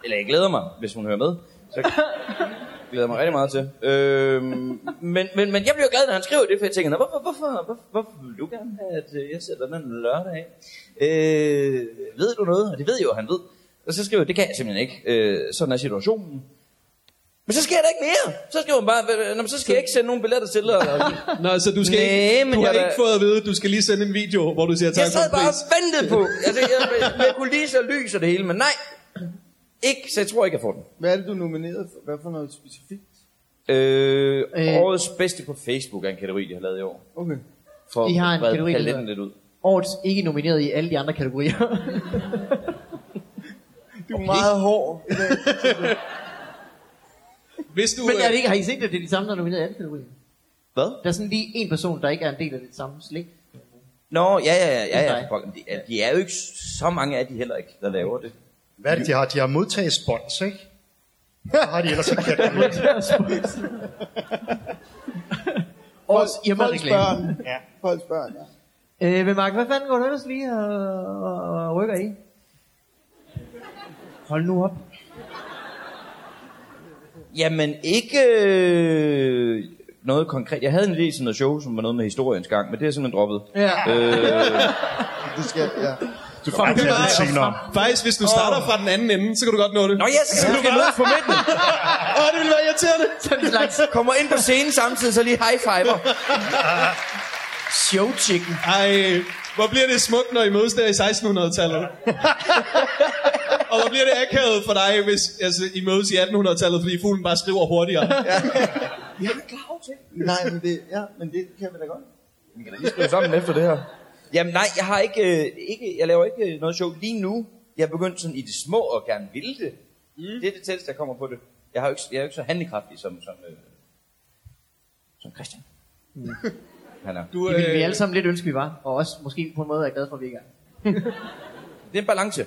[SPEAKER 5] eller jeg glæder mig, hvis hun hører med. Så glæder jeg mig rigtig meget til. Øhm, men, men, men jeg bliver glad, når han skriver det, for jeg tænker, "Nå, hvorfor, hvorfor, hvorfor, hvorfor vil du gerne have, at øh, jeg sætter den lørdag af? Øh, ved du noget? Og det ved jeg jo, han ved. Og så skriver jeg, det kan jeg simpelthen ikke. Øh, sådan er situationen. Men så sker der ikke mere. Så skriver han bare, "Nå, men så skal jeg ikke sende nogen billetter til. Og, og,
[SPEAKER 1] Nå, så du, skal
[SPEAKER 5] Næh,
[SPEAKER 1] ikke,
[SPEAKER 5] men
[SPEAKER 1] du har
[SPEAKER 5] jeg var-
[SPEAKER 1] ikke fået at vide, at du skal lige sende en video, hvor du siger tak
[SPEAKER 5] jeg
[SPEAKER 1] for
[SPEAKER 5] sad
[SPEAKER 1] en
[SPEAKER 5] bare
[SPEAKER 1] pris.
[SPEAKER 5] og ventede på. Altså, jeg, jeg, jeg kunne lige så lys og det hele, men nej. Ikke, så jeg tror ikke, jeg får den.
[SPEAKER 4] Hvad er det, du er nomineret for? Hvad for noget specifikt?
[SPEAKER 5] Øh,
[SPEAKER 2] Øh.
[SPEAKER 5] øh. Årets bedste på Facebook er en kategori, de har lavet i år.
[SPEAKER 4] Okay.
[SPEAKER 5] For
[SPEAKER 2] I har en
[SPEAKER 5] at brede
[SPEAKER 2] kategori, der
[SPEAKER 5] paletten
[SPEAKER 2] hedder-
[SPEAKER 5] lidt ud.
[SPEAKER 2] årets ikke nomineret i alle de andre kategorier.
[SPEAKER 4] Du er meget hård.
[SPEAKER 1] Hvis du,
[SPEAKER 2] Men er det
[SPEAKER 1] øh,
[SPEAKER 2] ikke, har I set, at det er de samme, der er nomineret i alle kategorier?
[SPEAKER 5] Hvad?
[SPEAKER 2] Der er sådan lige en person, der ikke er en del af det samme slæng.
[SPEAKER 5] Nå, ja, ja, ja, ja,
[SPEAKER 2] Det er
[SPEAKER 5] ja.
[SPEAKER 2] dig.
[SPEAKER 5] for pokker. Men De, er, de er jo ikke så mange af de heller ikke, der laver det.
[SPEAKER 3] Hvad er det, de har? De har modtaget spons, ikke? Hvad har de ellers ikke kan
[SPEAKER 2] Årets
[SPEAKER 4] Folks
[SPEAKER 2] hjemmereklame.
[SPEAKER 4] børn. Ja. Folks børn, ja.
[SPEAKER 2] Øh, men Mark, hvad fanden går du ellers lige og, og, og rykker i? Hold nu op.
[SPEAKER 5] Jamen, ikke øh, noget konkret. Jeg havde en idé til
[SPEAKER 2] Øh,
[SPEAKER 5] noget show, som var noget med historiens gang, men det er simpelthen droppet.
[SPEAKER 2] Ja.
[SPEAKER 5] Øh,
[SPEAKER 4] Det skal, ja.
[SPEAKER 3] Du får det lidt senere.
[SPEAKER 1] Faktisk, hvis du starter fra den anden ende, så kan du godt nå det.
[SPEAKER 5] Nå ja, så kan du kan mødes på midten.
[SPEAKER 1] Åh, det ville være irriterende.
[SPEAKER 5] Kommer ind på scenen samtidig, så lige high fiver. Show chicken.
[SPEAKER 1] Ej, hvor bliver det smukt, når I mødes der i 1600-tallet? Og hvor bliver det akavet for dig, hvis altså, I mødes i 1800-tallet, fordi fuglen bare skriver hurtigere?
[SPEAKER 4] Jeg er klar over til. Nej, men det, ja, men det kan vi da godt.
[SPEAKER 5] Vi skal sammen efter det her. Jamen nej, jeg har ikke, øh, ikke, jeg laver ikke øh, noget show lige nu. Jeg er begyndt sådan i det små og gerne ville det. Mm. Det er det tætteste, jeg kommer på det. Jeg, har jo ikke, jeg er jo ikke så handlekraftig som, som, øh, som Christian. Mm. Han er.
[SPEAKER 1] Du, øh,
[SPEAKER 2] Det ville vi alle sammen lidt ønske, vi var. Og også måske på en måde er glad for, at vi ikke er.
[SPEAKER 5] Det er en balance.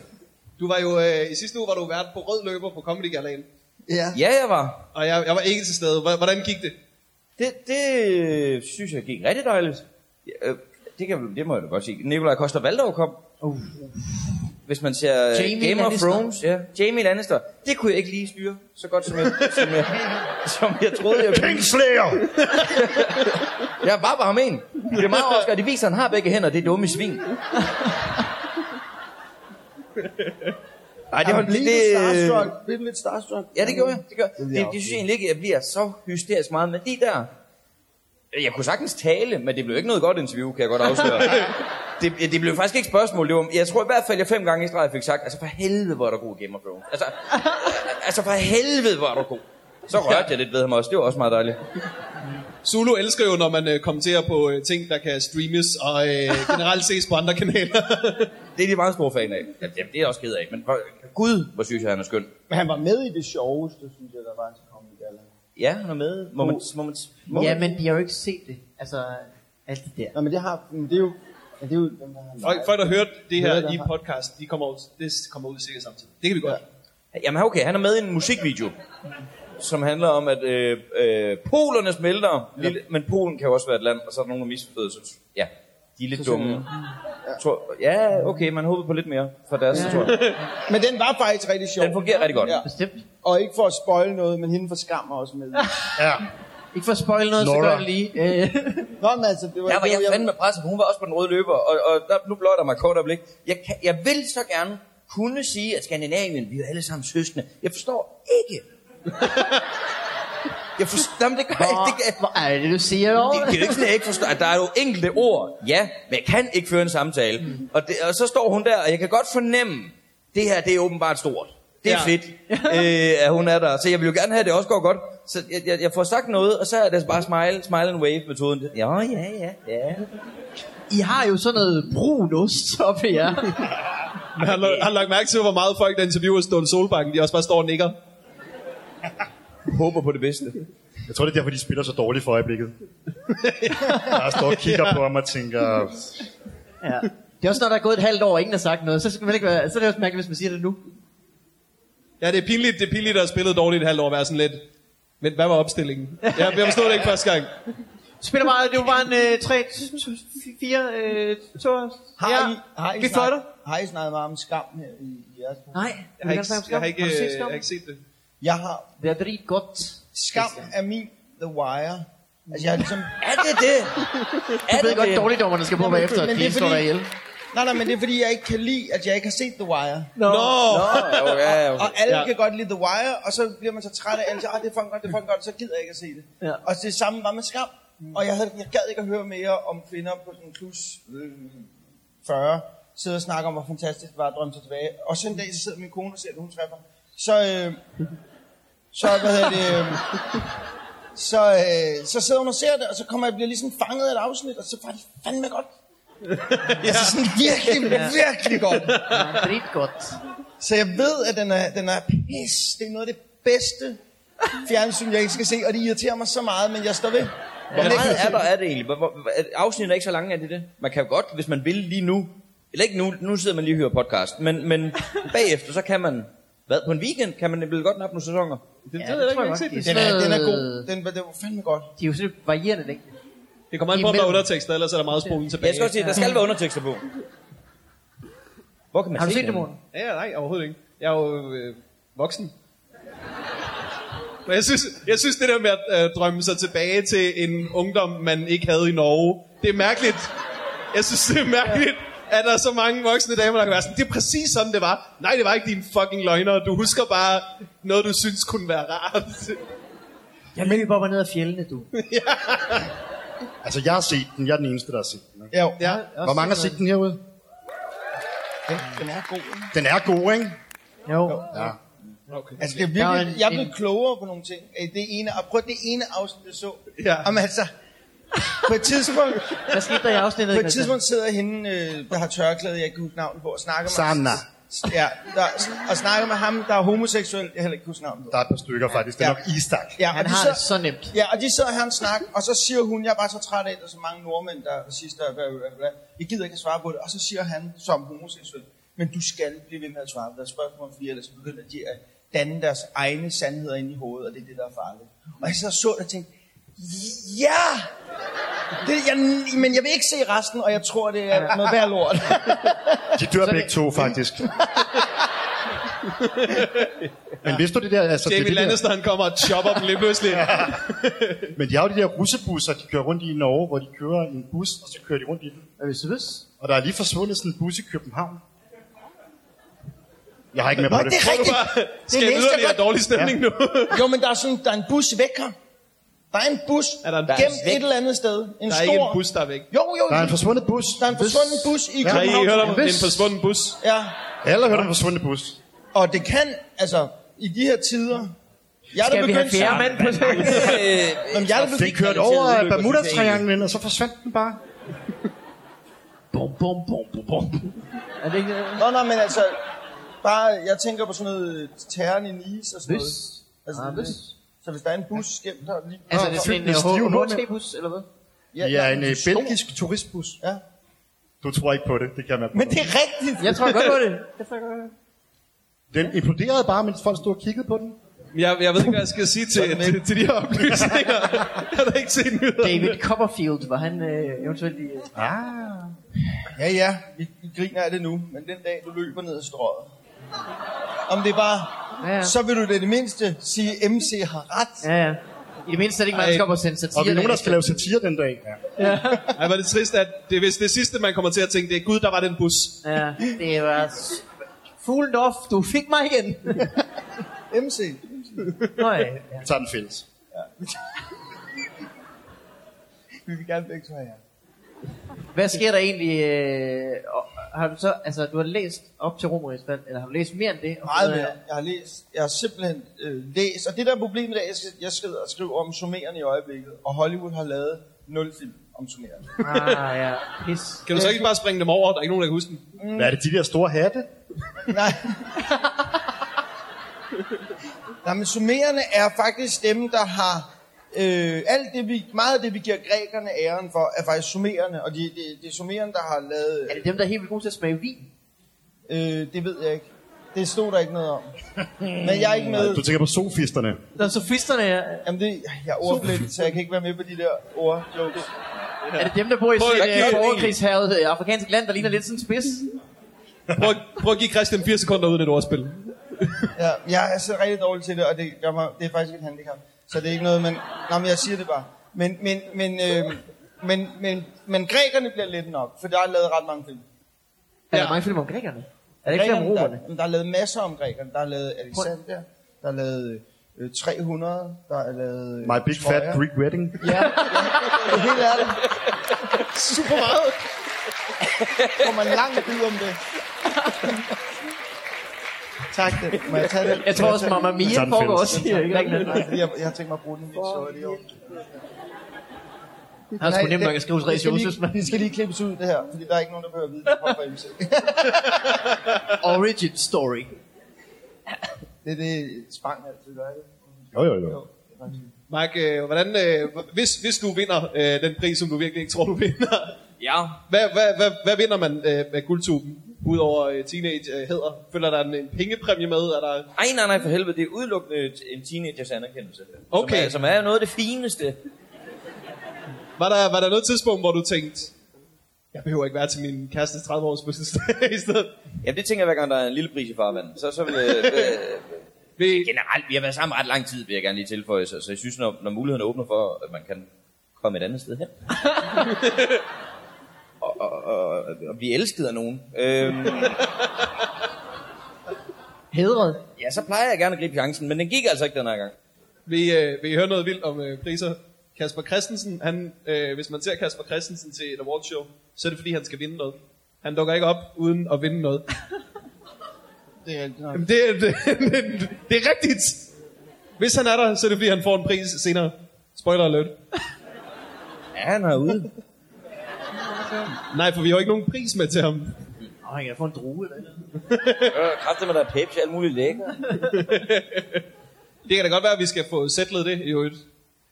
[SPEAKER 1] du var jo, øh, i sidste uge var du vært på rød løber på Comedy Galaen.
[SPEAKER 4] Ja.
[SPEAKER 5] Ja, jeg var.
[SPEAKER 1] Og jeg, jeg var ikke til stede. Hvor- Hvordan gik det?
[SPEAKER 5] Det, det øh, synes jeg gik rigtig dejligt. Ja, øh, det, kan, det må jeg da godt sige. Nikolaj Koster Valdov kom. Uh. Hvis man ser øh,
[SPEAKER 2] Jamie
[SPEAKER 5] Game
[SPEAKER 2] Lannister.
[SPEAKER 5] of Thrones. Ja. Jamie Lannister. Det kunne jeg ikke lige styre så godt, som jeg, som jeg, som jeg troede, jeg kunne.
[SPEAKER 3] Kingslayer!
[SPEAKER 5] Jeg var bare ham en. Det er meget overraskende, at de viser, at han har begge hænder. Det er dumme svin. Ej, det, var, det,
[SPEAKER 4] Blev
[SPEAKER 5] det, øh,
[SPEAKER 4] du starstruck? Blev du lidt starstruck?
[SPEAKER 5] ja, det gjorde jeg. Det, gjorde. jeg. det, det synes jeg egentlig ikke, at jeg bliver så hysterisk meget. Men lige der, jeg kunne sagtens tale, men det blev ikke noget godt interview, kan jeg godt afsløre. Det, det blev faktisk ikke et spørgsmål. Det var, jeg tror i hvert fald, jeg fem gange i streg fik sagt, altså for helvede, hvor er der god Game of Thrones. Altså, altså for helvede, hvor er der god. Så rørte jeg lidt ved ham også. Det var også meget dejligt.
[SPEAKER 1] Zulu elsker jo, når man øh, kommenterer på øh, ting, der kan streames og øh, generelt ses på andre kanaler.
[SPEAKER 5] Det er de meget store fan af. Ja, det er jeg også ked af. Men hvor, gud, hvor synes jeg, han er skøn.
[SPEAKER 4] Men han var med i det sjoveste, synes jeg, der var til Comedy Gala.
[SPEAKER 5] Ja, han er med. Må man, må man, må
[SPEAKER 2] Ja,
[SPEAKER 5] man,
[SPEAKER 2] men de har jo ikke set det. Altså, alt det der.
[SPEAKER 4] Nå, men det har... Men det er jo... Men det er jo dem, der har
[SPEAKER 1] Folk, folk, der hørte det
[SPEAKER 4] Hører
[SPEAKER 1] her
[SPEAKER 4] det
[SPEAKER 1] i
[SPEAKER 4] her.
[SPEAKER 1] podcast, de kommer ud, det kommer ud sikkert samtidig. Det kan vi godt.
[SPEAKER 5] jamen okay, han er med i en musikvideo, som handler om, at øh, øh, polerne smelter. Lille, men Polen kan jo også være et land, og så er der nogen, der misforstået. Så, ja, de er lidt dumme. Ja. Tror, ja, okay, man håber på lidt mere fra deres, ja. tror jeg.
[SPEAKER 4] Men den var faktisk rigtig sjov.
[SPEAKER 5] Den fungerer rigtig godt.
[SPEAKER 4] Ja.
[SPEAKER 5] Ja.
[SPEAKER 2] Bestemt.
[SPEAKER 4] Og ikke for at spoil noget, men hende for skam er også med.
[SPEAKER 3] Ja.
[SPEAKER 2] Ikke for at spoil noget, så
[SPEAKER 3] Laura.
[SPEAKER 2] gør jeg det lige. Øh,
[SPEAKER 4] Nå, men altså, det var...
[SPEAKER 5] Der var
[SPEAKER 4] det
[SPEAKER 5] jeg fandme presset, for hun var også på den røde løber, og, og der, nu bløjter mig et kort øjeblik. Jeg, kan, jeg vil så gerne kunne sige, at Skandinavien, vi er alle sammen søskende. Jeg forstår ikke. jeg forstår, jamen, det gør jeg ikke. Det, kan-
[SPEAKER 2] Hvor er det, du siger jo?
[SPEAKER 5] det, det er jo ikke sådan, jeg ikke forstår. Der er jo enkelte ord, ja, men jeg kan ikke føre en samtale. Mm. Og, det, og så står hun der, og jeg kan godt fornemme, det her, det er åbenbart stort. Det er
[SPEAKER 1] Ja.
[SPEAKER 5] ja. fedt, øh, at hun er der. Så jeg vil jo gerne have, at det også går godt. Så jeg, jeg, jeg får sagt noget, og så er det bare smile, smile and wave-metoden. Ja, ja, ja, ja.
[SPEAKER 2] I har jo sådan noget brun ost oppe i jer.
[SPEAKER 1] Jeg har, lo- har lagt mærke til, hvor meget folk, der interviewer Ståle Solbakken, de også bare står og nikker.
[SPEAKER 5] håber på det bedste.
[SPEAKER 3] Jeg tror, det er derfor, de spiller så dårligt for øjeblikket. Jeg står og kigger på ham og tænker,
[SPEAKER 2] Ja. Det er også, når der er gået et halvt år, og ingen har sagt noget. Så, skal man ikke være, så er det også mærkeligt, hvis man siger det nu.
[SPEAKER 1] Ja, det er pinligt, det er pinligt at have spillet dårligt et halvt år, være sådan lidt. Men hvad var opstillingen? Ja, jeg forstod det ikke første gang.
[SPEAKER 2] Spiller bare, det var bare en øh, 3, 4, øh, 2,
[SPEAKER 4] Har I, har I
[SPEAKER 2] vi
[SPEAKER 4] snak-
[SPEAKER 2] fløjter.
[SPEAKER 4] Har I snakket meget om skam her i, i jeres program?
[SPEAKER 2] Nej,
[SPEAKER 1] Jeg har ikke, jeg har ikke, øh, jeg har ikke set det.
[SPEAKER 4] Jeg har...
[SPEAKER 2] Det er rigtig godt.
[SPEAKER 4] Skam er min The Wire. Altså, jeg har ligesom...
[SPEAKER 5] Er det det? Er
[SPEAKER 2] Jeg ved
[SPEAKER 5] det
[SPEAKER 2] godt,
[SPEAKER 5] det?
[SPEAKER 2] dårligdommerne skal på
[SPEAKER 4] Jamen,
[SPEAKER 2] mig efter,
[SPEAKER 4] men
[SPEAKER 2] at
[SPEAKER 4] det
[SPEAKER 2] de
[SPEAKER 4] er
[SPEAKER 2] slår dig
[SPEAKER 4] fordi-
[SPEAKER 2] ihjel.
[SPEAKER 4] Nej, nej, men det er fordi, jeg ikke kan lide, at jeg ikke har set The Wire.
[SPEAKER 1] Nå! Nå.
[SPEAKER 5] Nå, jo, ja, okay.
[SPEAKER 4] Og alle
[SPEAKER 1] Ja.
[SPEAKER 4] Altså, ja. kan godt lide The Wire, og så bliver man så træt af alle, så, ah, det er fucking godt, det er fucking godt, så gider jeg ikke at se det.
[SPEAKER 2] Ja.
[SPEAKER 4] Og det samme var med skam. Og jeg, havde, jeg gad ikke at høre mere om kvinder på sådan plus øh, 40, sidde og snakke om, hvor fantastisk det var at drømme sig tilbage. Og så en dag, så sidder min kone og ser, at hun træffer. Så, øh, så, hvad hedder det, øh, så, øh, så sidder hun og ser det, og så kommer jeg bliver ligesom fanget af et afsnit, og så var det fandme godt. ja. Altså sådan virkelig, virkelig godt.
[SPEAKER 2] Rigtig godt.
[SPEAKER 4] Så jeg ved, at den er, den er pis. Det er noget af det bedste fjernsyn, jeg ikke skal se, og det irriterer mig så meget, men jeg står ved.
[SPEAKER 5] Hvor meget er der af det egentlig? Hvor- hvor- hvor- er- Afsnittet er ikke så lange, er det det? Man kan jo godt, hvis man vil lige nu, eller ikke nu, nu sidder man lige og hører podcast, men, men bagefter, så kan man, hvad, på en weekend kan man vel godt nappe nogle sæsoner?
[SPEAKER 1] Det,
[SPEAKER 2] Ja,
[SPEAKER 1] ved
[SPEAKER 2] det
[SPEAKER 1] jeg ikke, jeg
[SPEAKER 2] tror jeg
[SPEAKER 1] har
[SPEAKER 2] godt.
[SPEAKER 1] ikke set
[SPEAKER 4] Den er, den er god. Den, det var fandme godt.
[SPEAKER 2] De er jo sådan lidt varierende længde.
[SPEAKER 1] det. Det kommer an på, om der er
[SPEAKER 2] Imellem.
[SPEAKER 1] undertekster, ellers er der meget spolen
[SPEAKER 5] Jeg
[SPEAKER 1] tilbage.
[SPEAKER 5] skal også sige, der skal være undertekster på. Hvor kan man
[SPEAKER 2] Har du
[SPEAKER 5] se
[SPEAKER 2] set det,
[SPEAKER 5] den?
[SPEAKER 2] Morten?
[SPEAKER 1] Ja, nej, overhovedet ikke. Jeg er jo øh, voksen. Men jeg synes, jeg synes, det der med at øh, drømme sig tilbage til en ungdom, man ikke havde i Norge, det er mærkeligt. Jeg synes, det er mærkeligt. at der er så mange voksne damer, der kan være sådan, det er præcis sådan, det var. Nej, det var ikke din fucking løgner. Du husker bare noget, du synes kunne være rart.
[SPEAKER 2] Jeg løber bare ned ad fjellene, du.
[SPEAKER 3] Altså, jeg har set den. Jeg er den eneste, der har set den. ikke?
[SPEAKER 1] Ja, ja.
[SPEAKER 3] Hvor mange har set den herude?
[SPEAKER 4] Den, den er god. ikke?
[SPEAKER 3] Den er god, ikke?
[SPEAKER 2] Jo.
[SPEAKER 3] Ja.
[SPEAKER 4] Altså, det er
[SPEAKER 2] Der
[SPEAKER 4] virkelig,
[SPEAKER 2] er en-
[SPEAKER 4] jeg blev
[SPEAKER 2] en-
[SPEAKER 4] klogere på nogle ting. Øh, Det ene, og prøv det ene afsnit, jeg så.
[SPEAKER 1] Ja.
[SPEAKER 4] Jamen altså, på et tidspunkt,
[SPEAKER 2] Hvad skete der i afsnittet?
[SPEAKER 4] på et
[SPEAKER 2] Christian?
[SPEAKER 4] tidspunkt sidder hende, øh, der har tørklæde, jeg kan ikke huske navnet på, og snakker med...
[SPEAKER 3] Sanna.
[SPEAKER 4] Ja, der, og snakker med ham, der er homoseksuel, jeg heller ikke huske navnet på.
[SPEAKER 3] Der er et par stykker, faktisk. Det er
[SPEAKER 4] Ja.
[SPEAKER 3] nok Istak.
[SPEAKER 4] Ja, og
[SPEAKER 2] Han
[SPEAKER 4] de
[SPEAKER 2] har
[SPEAKER 4] sidder-
[SPEAKER 2] det så nemt.
[SPEAKER 4] Ja, og de sidder her og snakker, og så siger hun, jeg er bare så træt af, at der er så mange nordmænd, der sidst der, bla, bla, bla. jeg gider ikke at svare på det. Og så siger han som homoseksuel, men du skal blive ved med at svare på deres spørgsmål, fordi ellers begynder de at danne deres egne sandheder ind i hovedet, og det er det, der er farligt. Og jeg så så det og tænkte, ja! Det, jeg, men jeg vil ikke se resten, og jeg tror, det er noget værd lort.
[SPEAKER 3] De dør begge to, faktisk. Men vidste du det der? Altså, det er
[SPEAKER 1] Jamie
[SPEAKER 3] det der,
[SPEAKER 1] Lannister, han kommer og chopper dem lige pludselig.
[SPEAKER 3] men de har jo de der russebusser, de kører rundt i i Norge, hvor de kører i en bus, og så kører de rundt i den.
[SPEAKER 2] Er vi søs?
[SPEAKER 3] Og der er lige forsvundet sådan en bus i København. Jeg har ikke med på
[SPEAKER 4] Nå,
[SPEAKER 3] det.
[SPEAKER 4] det er rigtigt.
[SPEAKER 1] Skal det
[SPEAKER 4] læste jeg
[SPEAKER 1] yderligere
[SPEAKER 4] godt.
[SPEAKER 1] dårlig stemning ja. nu?
[SPEAKER 4] Jo, men der er, sådan, der er en bus væk her. Der er en bus
[SPEAKER 1] Er der en bus
[SPEAKER 4] gemt
[SPEAKER 1] væk?
[SPEAKER 4] et eller andet sted. En
[SPEAKER 1] Der er
[SPEAKER 4] stor...
[SPEAKER 1] ikke en bus, der er væk.
[SPEAKER 4] Jo, jo,
[SPEAKER 3] Der er en forsvundet bus.
[SPEAKER 4] Der er en forsvunden bus i
[SPEAKER 1] Har I
[SPEAKER 4] København.
[SPEAKER 1] hørt om en
[SPEAKER 3] Hvis-
[SPEAKER 1] forsvunden bus?
[SPEAKER 4] Ja,
[SPEAKER 3] Alle har hørt om en forsvundet bus.
[SPEAKER 4] og det kan, altså, i de her tider... Jeg er da
[SPEAKER 2] Skal vi have
[SPEAKER 4] begyndt
[SPEAKER 2] fjerde
[SPEAKER 4] sammen-
[SPEAKER 2] mand på det?
[SPEAKER 5] Øh,
[SPEAKER 4] Nå, men jeg er da
[SPEAKER 3] Den
[SPEAKER 4] begyndt,
[SPEAKER 3] kørte over af Bermuda-trianglen, og så forsvandt den bare.
[SPEAKER 1] Bum, bum, bum, bum, bum.
[SPEAKER 2] Er det ikke noget?
[SPEAKER 4] Nå, nå, men altså, bare, jeg tænker på sådan noget øh, terren i Nice og sådan noget.
[SPEAKER 2] Hvis.
[SPEAKER 4] Altså,
[SPEAKER 2] Ah,
[SPEAKER 4] det-
[SPEAKER 2] hvis.
[SPEAKER 4] Så hvis der er en bus skæmt her lige...
[SPEAKER 2] Altså, er det sådan en
[SPEAKER 3] Fyldt med stive nordmænd.
[SPEAKER 2] HT-bus, eller hvad?
[SPEAKER 3] Ja,
[SPEAKER 4] nå,
[SPEAKER 3] en
[SPEAKER 4] men
[SPEAKER 3] øh,
[SPEAKER 4] stor.
[SPEAKER 3] belgisk turistbus.
[SPEAKER 4] Ja.
[SPEAKER 3] Du tror ikke på det, det kan jeg med på.
[SPEAKER 4] Men det er rigtigt.
[SPEAKER 2] Jeg tror godt på det.
[SPEAKER 3] Den imploderede bare, mens folk stod og kiggede på den.
[SPEAKER 1] Jeg, jeg ved ikke, hvad jeg skal sige til, til, til de her oplysninger. jeg har da ikke set nyheder.
[SPEAKER 2] David Copperfield, var han øh, eventuelt i... Øh,
[SPEAKER 3] Ah.
[SPEAKER 4] Ja, ja, vi, vi griner af det nu, men den dag, du løber ned ad strøget. Om det er bare...
[SPEAKER 2] Ja, ja.
[SPEAKER 4] Så vil du da i det mindste sige, MC har ret.
[SPEAKER 2] ja, ja. I det mindste er det ikke mig, der skal op og sende satire.
[SPEAKER 3] Og vi er nogen, der skal lave satire den dag. Ja.
[SPEAKER 1] Ej, var det trist, at det, hvis det sidste, man kommer til at tænke, det er Gud, der var den bus.
[SPEAKER 2] Ja, det var... s- Fuglen off, du fik mig igen.
[SPEAKER 4] MC.
[SPEAKER 2] Nå ja, ja.
[SPEAKER 3] Vi tager den fælles.
[SPEAKER 4] Vi vil gerne begge to have jer.
[SPEAKER 2] Hvad sker der egentlig? Øh, og har du så, altså, du har læst op til Romerigets fald, eller har du læst mere end det? Og
[SPEAKER 4] Meget
[SPEAKER 2] fundet
[SPEAKER 4] mere.
[SPEAKER 2] af-
[SPEAKER 4] Jeg har læst. Jeg har simpelthen øh, læst. Og det der er problemet er, at jeg, skal- jeg skriver, og skriver om summerende i øjeblikket. Og Hollywood har lavet nul film om summerende.
[SPEAKER 2] Ah, ja. Pis.
[SPEAKER 1] Kan du så ikke bare springe dem over? Der er ikke nogen, der kan huske den.
[SPEAKER 3] Hvad er det, de der store hatte?
[SPEAKER 4] Nej. Nej, men summerende er faktisk dem, der har... Øh, alt det, vi, meget af det, vi giver grækerne æren for, er faktisk summerende. Og det de, de er summerende, der har lavet...
[SPEAKER 2] Er det dem, der er helt vildt gode til at smage vin?
[SPEAKER 4] Øh, det ved jeg ikke. Det stod der ikke noget om. Men jeg er ikke med.
[SPEAKER 3] Du tænker på sofisterne.
[SPEAKER 2] Der er sofisterne, er,
[SPEAKER 4] Jamen det, jeg er ordblind, så jeg kan ikke være med på de der ordjokes.
[SPEAKER 2] er det dem, der bor i
[SPEAKER 1] Prøv at-
[SPEAKER 2] sådan
[SPEAKER 1] Hvad
[SPEAKER 2] et
[SPEAKER 1] gør
[SPEAKER 2] øh,
[SPEAKER 1] det
[SPEAKER 2] borgerkrigshavet øh, afrikansk land, der ligner lidt sådan en spids?
[SPEAKER 1] Prøv, prøv at give Christian 4 sekunder uden et ordspil.
[SPEAKER 4] Ja, jeg er så rigtig dårlig til det, og det, gør mig, det er faktisk et handicap. Så det er ikke noget, men... Nå, men jeg siger det bare. Men, men, men, øh, men, men, men grækerne bliver lidt nok, for der er lavet ret mange film.
[SPEAKER 2] Er
[SPEAKER 1] Ja.
[SPEAKER 2] der mange film om grækerne? Er der ikke flere om romerne?
[SPEAKER 4] der, der er lavet masser om grækerne. Der er lavet Alexander, der er lavet øh, 300, der er lavet... Øh,
[SPEAKER 3] My Big Fat
[SPEAKER 4] Troja.
[SPEAKER 3] Greek Wedding.
[SPEAKER 4] Ja, ja, helt ærligt. Super meget. Kommer langt ud om det. tak, det. Må jeg tage det?
[SPEAKER 2] Jeg tror også, Mamma Mia
[SPEAKER 3] tager den
[SPEAKER 2] foregår
[SPEAKER 3] fælles.
[SPEAKER 2] også i øh, Grækenland.
[SPEAKER 4] Jeg, jeg har tænkt mig at bruge den i så det år.
[SPEAKER 2] Han skulle nemt nok at skrive Therese Josefs
[SPEAKER 4] Det skal lige klippes ud, det her, fordi der er ikke nogen, der behøver at vide, det kommer fra MC.
[SPEAKER 2] origin story.
[SPEAKER 4] Det er det, Spang altid gør, ikke?
[SPEAKER 3] Jo, jo, jo.
[SPEAKER 1] Mark, øh, hvordan, øh, hvis, hvis du vinder øh, den pris, som du virkelig ikke tror, du vinder,
[SPEAKER 5] Ja,
[SPEAKER 1] hvad, hvad, hvad, hvad vinder man øh, med guldtuben? Udover øh, teenage-hæder. Følger der en, en pengepræmie med? Er der...
[SPEAKER 5] Ej, nej, nej, for helvede, det er udelukkende t- en teenagers anerkendelse.
[SPEAKER 1] Okay.
[SPEAKER 5] Som er, som er noget af det fineste.
[SPEAKER 1] Var, der, var der noget tidspunkt, hvor du tænkte, jeg behøver ikke være til min kærestes 30-års fødselsdag i stedet?
[SPEAKER 5] Jamen, det tænker jeg, hver gang der er en lille pris i farvandet. Så, så vil, øh, øh,
[SPEAKER 1] Ved-
[SPEAKER 5] generelt, vi har været sammen ret lang tid, vil jeg gerne lige tilføje. Så, så jeg synes, når, når muligheden åbner for, at man kan komme et andet sted hen. og, og, og, og blive elsket af nogen, øhm,
[SPEAKER 2] Hedret.
[SPEAKER 5] ja, så plejer jeg gerne at gribe chancen, men den gik altså ikke den her gang.
[SPEAKER 1] Vil, I, øh, vil I høre noget vildt om øh, priser? Kasper Christensen, han, øh, hvis man ser Kasper Christensen til et awardshow, så er det fordi, han skal vinde noget. Han dukker ikke op uden at vinde noget.
[SPEAKER 4] Det er, nej.
[SPEAKER 1] Jamen, det, er- det, det, det er rigtigt. Hvis han er der, så er det fordi, han får en pris senere. Spoiler alert.
[SPEAKER 5] Ja, han er ude.
[SPEAKER 1] Nej, for vi har jo ikke nogen pris med til ham.
[SPEAKER 2] Åh, han kan få en drue eller noget.
[SPEAKER 5] Øh, Kræfter med der er Pepsi, alt muligt lækker.
[SPEAKER 1] Det kan da godt være, at vi skal få sætlet det i øvrigt.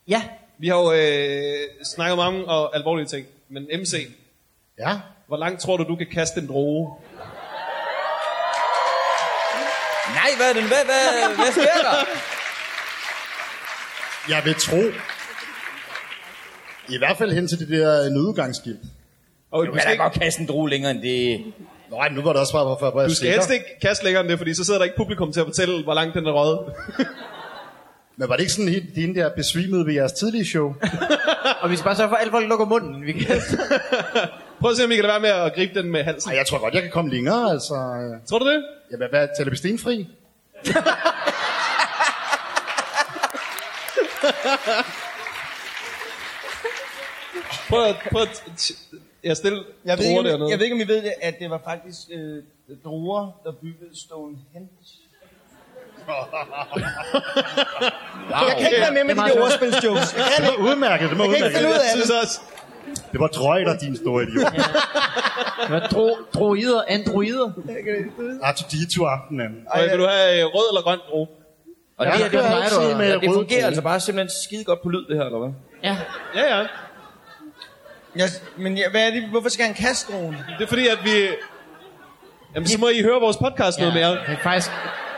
[SPEAKER 2] Ja,
[SPEAKER 1] Vi har jo øh, snakket mange og alvorlige ting, men MC,
[SPEAKER 3] Ja,
[SPEAKER 1] hvor langt tror du, du kan kaste en droge?
[SPEAKER 5] Nej, hvad er den? Hvad, hvad, hvad sker der?
[SPEAKER 3] jeg vil tro. I hvert fald hen til det der øh, nødudgangsskilt.
[SPEAKER 1] Og
[SPEAKER 5] Du
[SPEAKER 1] du
[SPEAKER 5] kan
[SPEAKER 1] skal,
[SPEAKER 5] da godt
[SPEAKER 1] ikke,
[SPEAKER 5] kaste en drue længere end det.
[SPEAKER 3] Nå, men nu var det også bare, hvorfor jeg var
[SPEAKER 1] du skal helst ikke kaste længere end det, fordi så sidder der ikke publikum til at fortælle, hvor langt den er røget.
[SPEAKER 3] Men var det ikke sådan helt din der besvimede ved jeres tidlige show?
[SPEAKER 2] og vi skal bare sørge for, at alle folk lukker munden. Vi kan...
[SPEAKER 1] Prøv at se, om I kan lade være med at gribe den med halsen.
[SPEAKER 3] Ej, jeg tror godt, jeg kan komme længere, altså. øh.
[SPEAKER 1] Tror du det?
[SPEAKER 3] Jamen, hvad, taler vi stenfri?
[SPEAKER 1] Prøv at, prøv at t- jeg stille
[SPEAKER 4] Jeg ved, ikke, om,
[SPEAKER 1] dernede.
[SPEAKER 4] jeg ved ikke, om I ved det, at det var faktisk øh, druer, der byggede Stonehenge.
[SPEAKER 3] Wow.
[SPEAKER 4] Jeg kan ikke være med med de der ordspilsjokes. Jeg kan ikke.
[SPEAKER 3] Udmærket, det må
[SPEAKER 4] Jeg kan
[SPEAKER 3] udmærket.
[SPEAKER 4] ikke finde ud af
[SPEAKER 1] Jeg
[SPEAKER 4] det.
[SPEAKER 1] synes også,
[SPEAKER 3] Det var drøjter, din store idiot.
[SPEAKER 2] Hvad, dro, droider, androider.
[SPEAKER 3] Ah, R2-D2-aftenen, anden.
[SPEAKER 1] Ej, vil du have øh, rød eller grøn droge?
[SPEAKER 5] Og
[SPEAKER 3] Ja,
[SPEAKER 5] det, her,
[SPEAKER 3] det
[SPEAKER 5] det,
[SPEAKER 3] er
[SPEAKER 5] var-
[SPEAKER 3] altid
[SPEAKER 5] det,
[SPEAKER 3] med
[SPEAKER 5] det
[SPEAKER 3] rød
[SPEAKER 5] fungerer
[SPEAKER 3] tale.
[SPEAKER 5] altså bare simpelthen skide godt på lyd, det her, eller hvad?
[SPEAKER 2] Ja.
[SPEAKER 1] Ja, ja.
[SPEAKER 4] Jeg, men jeg, hvad er det? Hvorfor skal han kaste droen?
[SPEAKER 1] Det er fordi, at vi... Jamen, så må I høre vores podcast noget mere.
[SPEAKER 2] Det er faktisk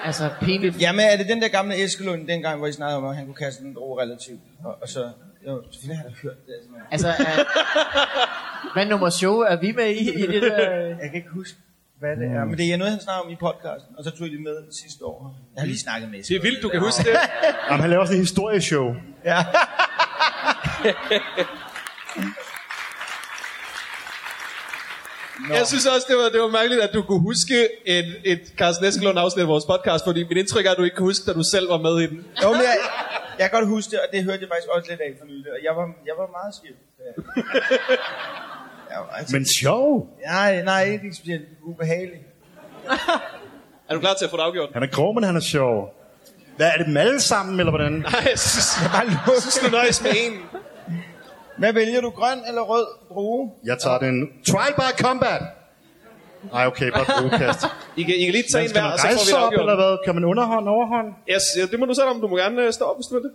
[SPEAKER 2] altså, pinligt.
[SPEAKER 4] Jamen, er det den der gamle Eskelund, dengang, hvor I snakkede om, at han kunne kaste en droge relativt? Og, og så... Jo, selvfølgelig har jeg da hørt det. Altså, men
[SPEAKER 2] Altså, er, hvad nummer show er vi med i, i det der... øh?
[SPEAKER 4] jeg kan ikke huske, hvad det er. Men det er noget, han snakker om i podcasten, og så tog jeg det med sidste år. Jeg har lige snakket
[SPEAKER 1] Det
[SPEAKER 4] med
[SPEAKER 1] er
[SPEAKER 4] Eskelund.
[SPEAKER 1] vildt, du kan huske det.
[SPEAKER 3] Jamen, han laver sådan en historieshow.
[SPEAKER 4] Ja.
[SPEAKER 1] Jeg synes også, det var, det var mærkeligt, at du kunne huske et, et Carsten Eskelund afsnit af vores podcast, fordi mit indtryk er, at du ikke kunne huske, da du selv var med i den.
[SPEAKER 4] Jo, men jeg, jeg kan godt huske det, og det hørte jeg faktisk også lidt af for nylig. Og jeg var, jeg var meget skæv. Jeg var, altså,
[SPEAKER 3] Men sjov.
[SPEAKER 4] nej, nej, ikke specielt ubehagelig.
[SPEAKER 1] Er du klar til at få det afgjort?
[SPEAKER 3] Han er grov, men han er sjov. Hvad, er det dem alle sammen, eller hvordan?
[SPEAKER 1] Nej, jeg synes,
[SPEAKER 4] Bare
[SPEAKER 1] jeg synes du nøjes med en.
[SPEAKER 4] Hvad vælger du, grøn eller rød drue?
[SPEAKER 3] Jeg tager den. Trial by combat! Ej, okay, bare brugkast.
[SPEAKER 1] I kan, I kan lige tage
[SPEAKER 3] Men
[SPEAKER 1] en
[SPEAKER 3] skal
[SPEAKER 1] hver,
[SPEAKER 3] man
[SPEAKER 1] og så får
[SPEAKER 3] rejse
[SPEAKER 1] vi
[SPEAKER 3] sig
[SPEAKER 1] det
[SPEAKER 3] op, eller
[SPEAKER 1] afgjort.
[SPEAKER 3] hvad? Kan man underhånd, overhånd?
[SPEAKER 1] Yes, ja, det må du selv om. Du må gerne øh, stå op, hvis du vil det.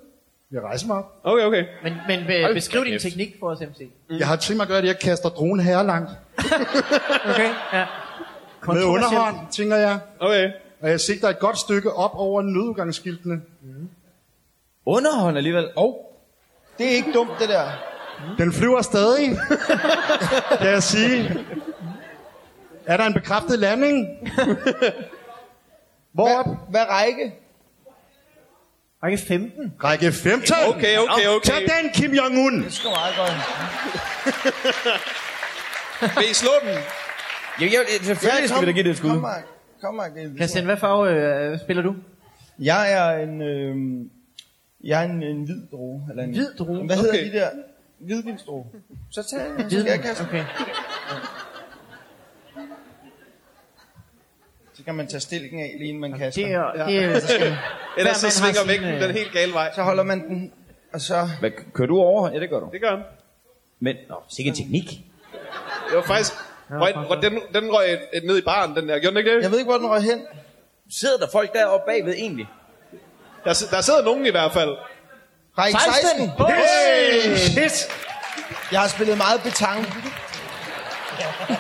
[SPEAKER 3] Jeg rejser mig op.
[SPEAKER 1] Okay, okay.
[SPEAKER 2] Men, men be, beskriv din teknik for os, MC.
[SPEAKER 1] Mm.
[SPEAKER 3] Jeg har tænkt mig at gøre det, jeg kaster dronen herrelangt.
[SPEAKER 2] Okay, ja.
[SPEAKER 3] Med underhånd, tænker jeg.
[SPEAKER 1] Okay.
[SPEAKER 3] Og jeg sigter et godt stykke op over nødudgangsskiltene.
[SPEAKER 5] Underhånd alligevel. Og
[SPEAKER 4] Det er ikke dumt, det der.
[SPEAKER 3] Den flyver stadig, kan jeg sige. Er der en bekræftet landing? Hvorop?
[SPEAKER 4] Hvad, hvad række?
[SPEAKER 2] Række 15.
[SPEAKER 3] Række 15.
[SPEAKER 1] Okay, okay, okay.
[SPEAKER 3] Tag den, Kim Jong-un.
[SPEAKER 4] Det skal meget godt.
[SPEAKER 1] Vil I slå den?
[SPEAKER 5] jeg, jeg, selvfølgelig skal vi da give det et skud.
[SPEAKER 4] Kom, Mark. Kom, Mark. Det er
[SPEAKER 2] Christian, hvad farve øh, spiller du?
[SPEAKER 4] jeg er en... Øh, jeg er en, en hvid drue. Eller en,
[SPEAKER 2] Hvid drue?
[SPEAKER 4] Hvad hedder
[SPEAKER 1] Okay.
[SPEAKER 4] de der? Hvidvinsdrue. Så tag jeg, så
[SPEAKER 2] Hvid.
[SPEAKER 4] skal jeg kaste.
[SPEAKER 2] Okay.
[SPEAKER 4] Så kan man tage stilken af, lige inden man kaster.
[SPEAKER 2] Det er,
[SPEAKER 4] Ja.
[SPEAKER 2] det er,
[SPEAKER 1] Ellers
[SPEAKER 2] Hver
[SPEAKER 1] så svinger
[SPEAKER 2] mand har sin,
[SPEAKER 1] vægten
[SPEAKER 2] øh,
[SPEAKER 1] den helt gale vej.
[SPEAKER 4] Så holder man den, og så...
[SPEAKER 5] Hvad, kører du over? Ja, det gør du.
[SPEAKER 1] Det gør han.
[SPEAKER 5] Men, nå, sikke en teknik.
[SPEAKER 1] Det var faktisk... Røg, røg, den, den røg et- et ned i baren, den der. Gjorde den ikke det?
[SPEAKER 4] Jeg ved ikke, hvor den røg hen.
[SPEAKER 5] Sidder der folk deroppe bagved egentlig?
[SPEAKER 1] Der, si- der sidder nogen i hvert fald.
[SPEAKER 4] Række 16!
[SPEAKER 3] Hey, shit.
[SPEAKER 4] Jeg har spillet meget betang.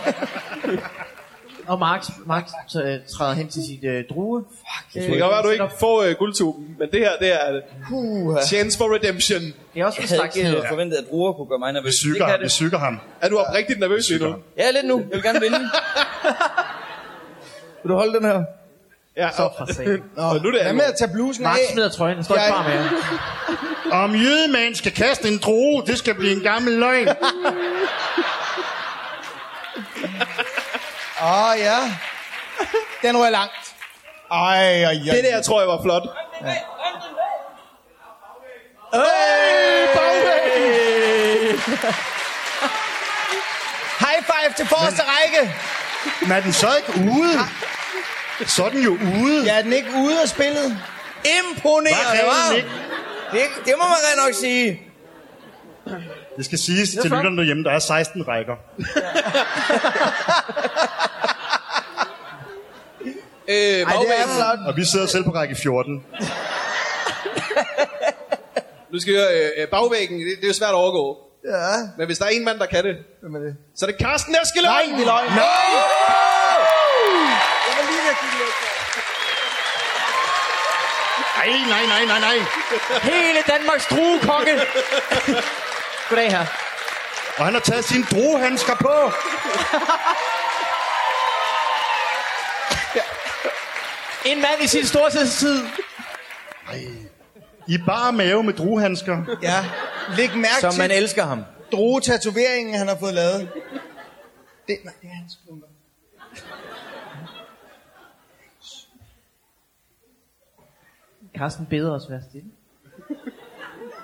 [SPEAKER 2] og Mark, Mark øh, træder hen til sit øh, drue. Fuck,
[SPEAKER 1] Det kan godt være, du ikke får øh, guldtuben, men det her, det er
[SPEAKER 4] Puh.
[SPEAKER 1] chance for redemption.
[SPEAKER 2] Det er også en
[SPEAKER 5] Jeg havde
[SPEAKER 2] slags...
[SPEAKER 5] ikke
[SPEAKER 2] Øh,
[SPEAKER 5] øh, forventet, at druer kunne gøre mig
[SPEAKER 3] Vi
[SPEAKER 5] nervøs.
[SPEAKER 3] syger
[SPEAKER 5] kan
[SPEAKER 3] ham, vi syger ham.
[SPEAKER 1] Er du oprigtigt nervøs lige nu?
[SPEAKER 5] Jeg er lidt nu. Jeg vil gerne vinde. vil du holde den her?
[SPEAKER 1] Ja,
[SPEAKER 2] så for satan.
[SPEAKER 4] Nå,
[SPEAKER 1] og nu er det
[SPEAKER 4] hvad med at tage blusen
[SPEAKER 2] Mark
[SPEAKER 4] af?
[SPEAKER 2] smider trøjen, han står ikke
[SPEAKER 4] Jeg-
[SPEAKER 2] bare med jer.
[SPEAKER 3] Om jødemand skal kaste en droge, det skal blive en gammel løgn.
[SPEAKER 4] Åh, oh, ja. Den rører langt. Ej, ej, ej.
[SPEAKER 1] Det der tror jeg var flot.
[SPEAKER 4] High five til forreste række.
[SPEAKER 3] Men er den så ikke ude? Så er den jo ude.
[SPEAKER 4] Ja, er den ikke ude af spillet?
[SPEAKER 5] Imponerende,
[SPEAKER 3] Hvad
[SPEAKER 5] hva'?
[SPEAKER 3] reglen ikke?
[SPEAKER 5] Det, det må man rent nok sige.
[SPEAKER 3] Det skal siges til lytterne derhjemme, der er 16 rækker.
[SPEAKER 5] Øh,
[SPEAKER 4] Ej, det er
[SPEAKER 5] bagvæggen.
[SPEAKER 4] flot.
[SPEAKER 3] Og vi sidder selv på række 14.
[SPEAKER 1] Nu skal vi høre, øh, øh, bagvæggen, det, det er jo svært at overgå.
[SPEAKER 4] Ja.
[SPEAKER 1] Men hvis der er en mand, der kan det,
[SPEAKER 4] Hvem er det?
[SPEAKER 1] så er det Carsten Eskelund!
[SPEAKER 4] Nej, det er løgn. Nej! Jeg var lige ved at kigge lidt.
[SPEAKER 3] Nej, nej, nej, nej, nej.
[SPEAKER 2] Hele Danmarks druekonge. Goddag her.
[SPEAKER 3] Og han har taget sine drohandsker på.
[SPEAKER 2] En mand i sin storhedstid.
[SPEAKER 3] I bare mave med druehandsker.
[SPEAKER 4] Ja. Læg mærke
[SPEAKER 5] Som
[SPEAKER 4] til
[SPEAKER 5] man elsker ham.
[SPEAKER 4] droge-tatoveringen, han har fået lavet. Det, nej, det er hans klumper.
[SPEAKER 2] Carsten beder os være stille.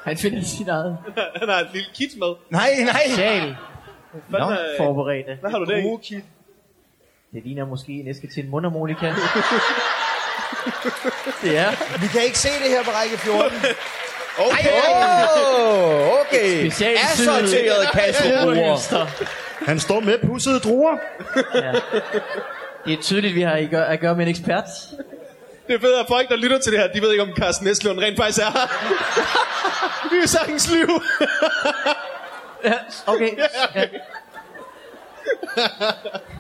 [SPEAKER 2] Han finder sin eget
[SPEAKER 1] Han har et lille kit med.
[SPEAKER 4] Nej, nej.
[SPEAKER 2] sjal
[SPEAKER 1] Hvad,
[SPEAKER 2] Nå,
[SPEAKER 1] øh,
[SPEAKER 2] forberedte.
[SPEAKER 1] hvad har du der i?
[SPEAKER 4] Droge-kit.
[SPEAKER 2] Det ligner måske en æske til en mundharmonika. det er
[SPEAKER 4] Vi kan ikke se det her på række 14.
[SPEAKER 1] Okay.
[SPEAKER 5] Åh, okay. Assorteret kassebruger.
[SPEAKER 3] Han står med pussede druer.
[SPEAKER 2] Det er tydeligt, vi har i gør- at gøre med en ekspert.
[SPEAKER 1] Det er fedt, at folk, der lytter til det her, de ved ikke, om Carsten Eskelund rent faktisk er her. Vi er sagtens liv.
[SPEAKER 2] Ja, okay. Ja.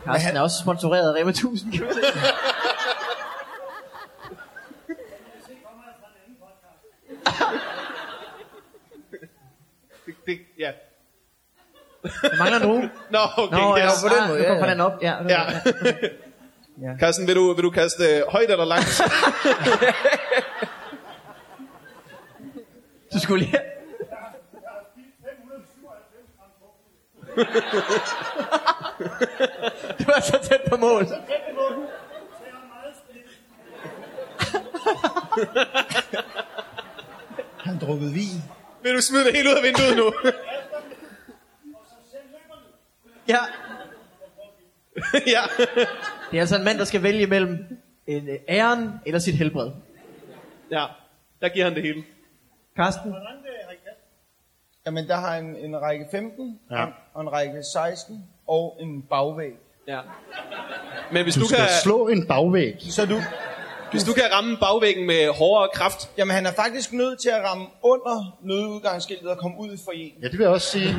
[SPEAKER 2] Carsten er også sponsoreret af Rema 1000. kan man se.
[SPEAKER 1] Det, det, ja.
[SPEAKER 2] Der mangler nogen.
[SPEAKER 1] Nå, okay.
[SPEAKER 2] Nå,
[SPEAKER 1] Nå,
[SPEAKER 2] ja, ah,
[SPEAKER 1] yes.
[SPEAKER 2] på den måde. Ja, ja. den op. Ja,
[SPEAKER 1] Ja.
[SPEAKER 2] ja.
[SPEAKER 1] Carsten, vil du, vil du kaste øh, højt eller langt?
[SPEAKER 2] Du skulle lige... du var så tæt på mål.
[SPEAKER 4] Han drukkede vin.
[SPEAKER 1] vil du smide det hele ud af vinduet nu?
[SPEAKER 2] Ja.
[SPEAKER 1] ja.
[SPEAKER 2] Det er altså en mand, der skal vælge mellem en øh, æren eller sit helbred.
[SPEAKER 1] ja, der giver han det hele.
[SPEAKER 2] Carsten,
[SPEAKER 4] Jamen, der har en, en række 15,
[SPEAKER 3] Ja.
[SPEAKER 4] ja. og en række 16, og en bagvæg.
[SPEAKER 1] Ja. Men hvis du,
[SPEAKER 3] Du
[SPEAKER 1] kan,
[SPEAKER 3] skal slå en bagvæg.
[SPEAKER 4] Så du,
[SPEAKER 1] hvis du kan ramme bagvæggen med hårdere kraft,
[SPEAKER 4] jamen han er faktisk nødt til at ramme under nødudgangsskiltet og komme ud i foreningen.
[SPEAKER 3] Ja, det vil jeg også sige.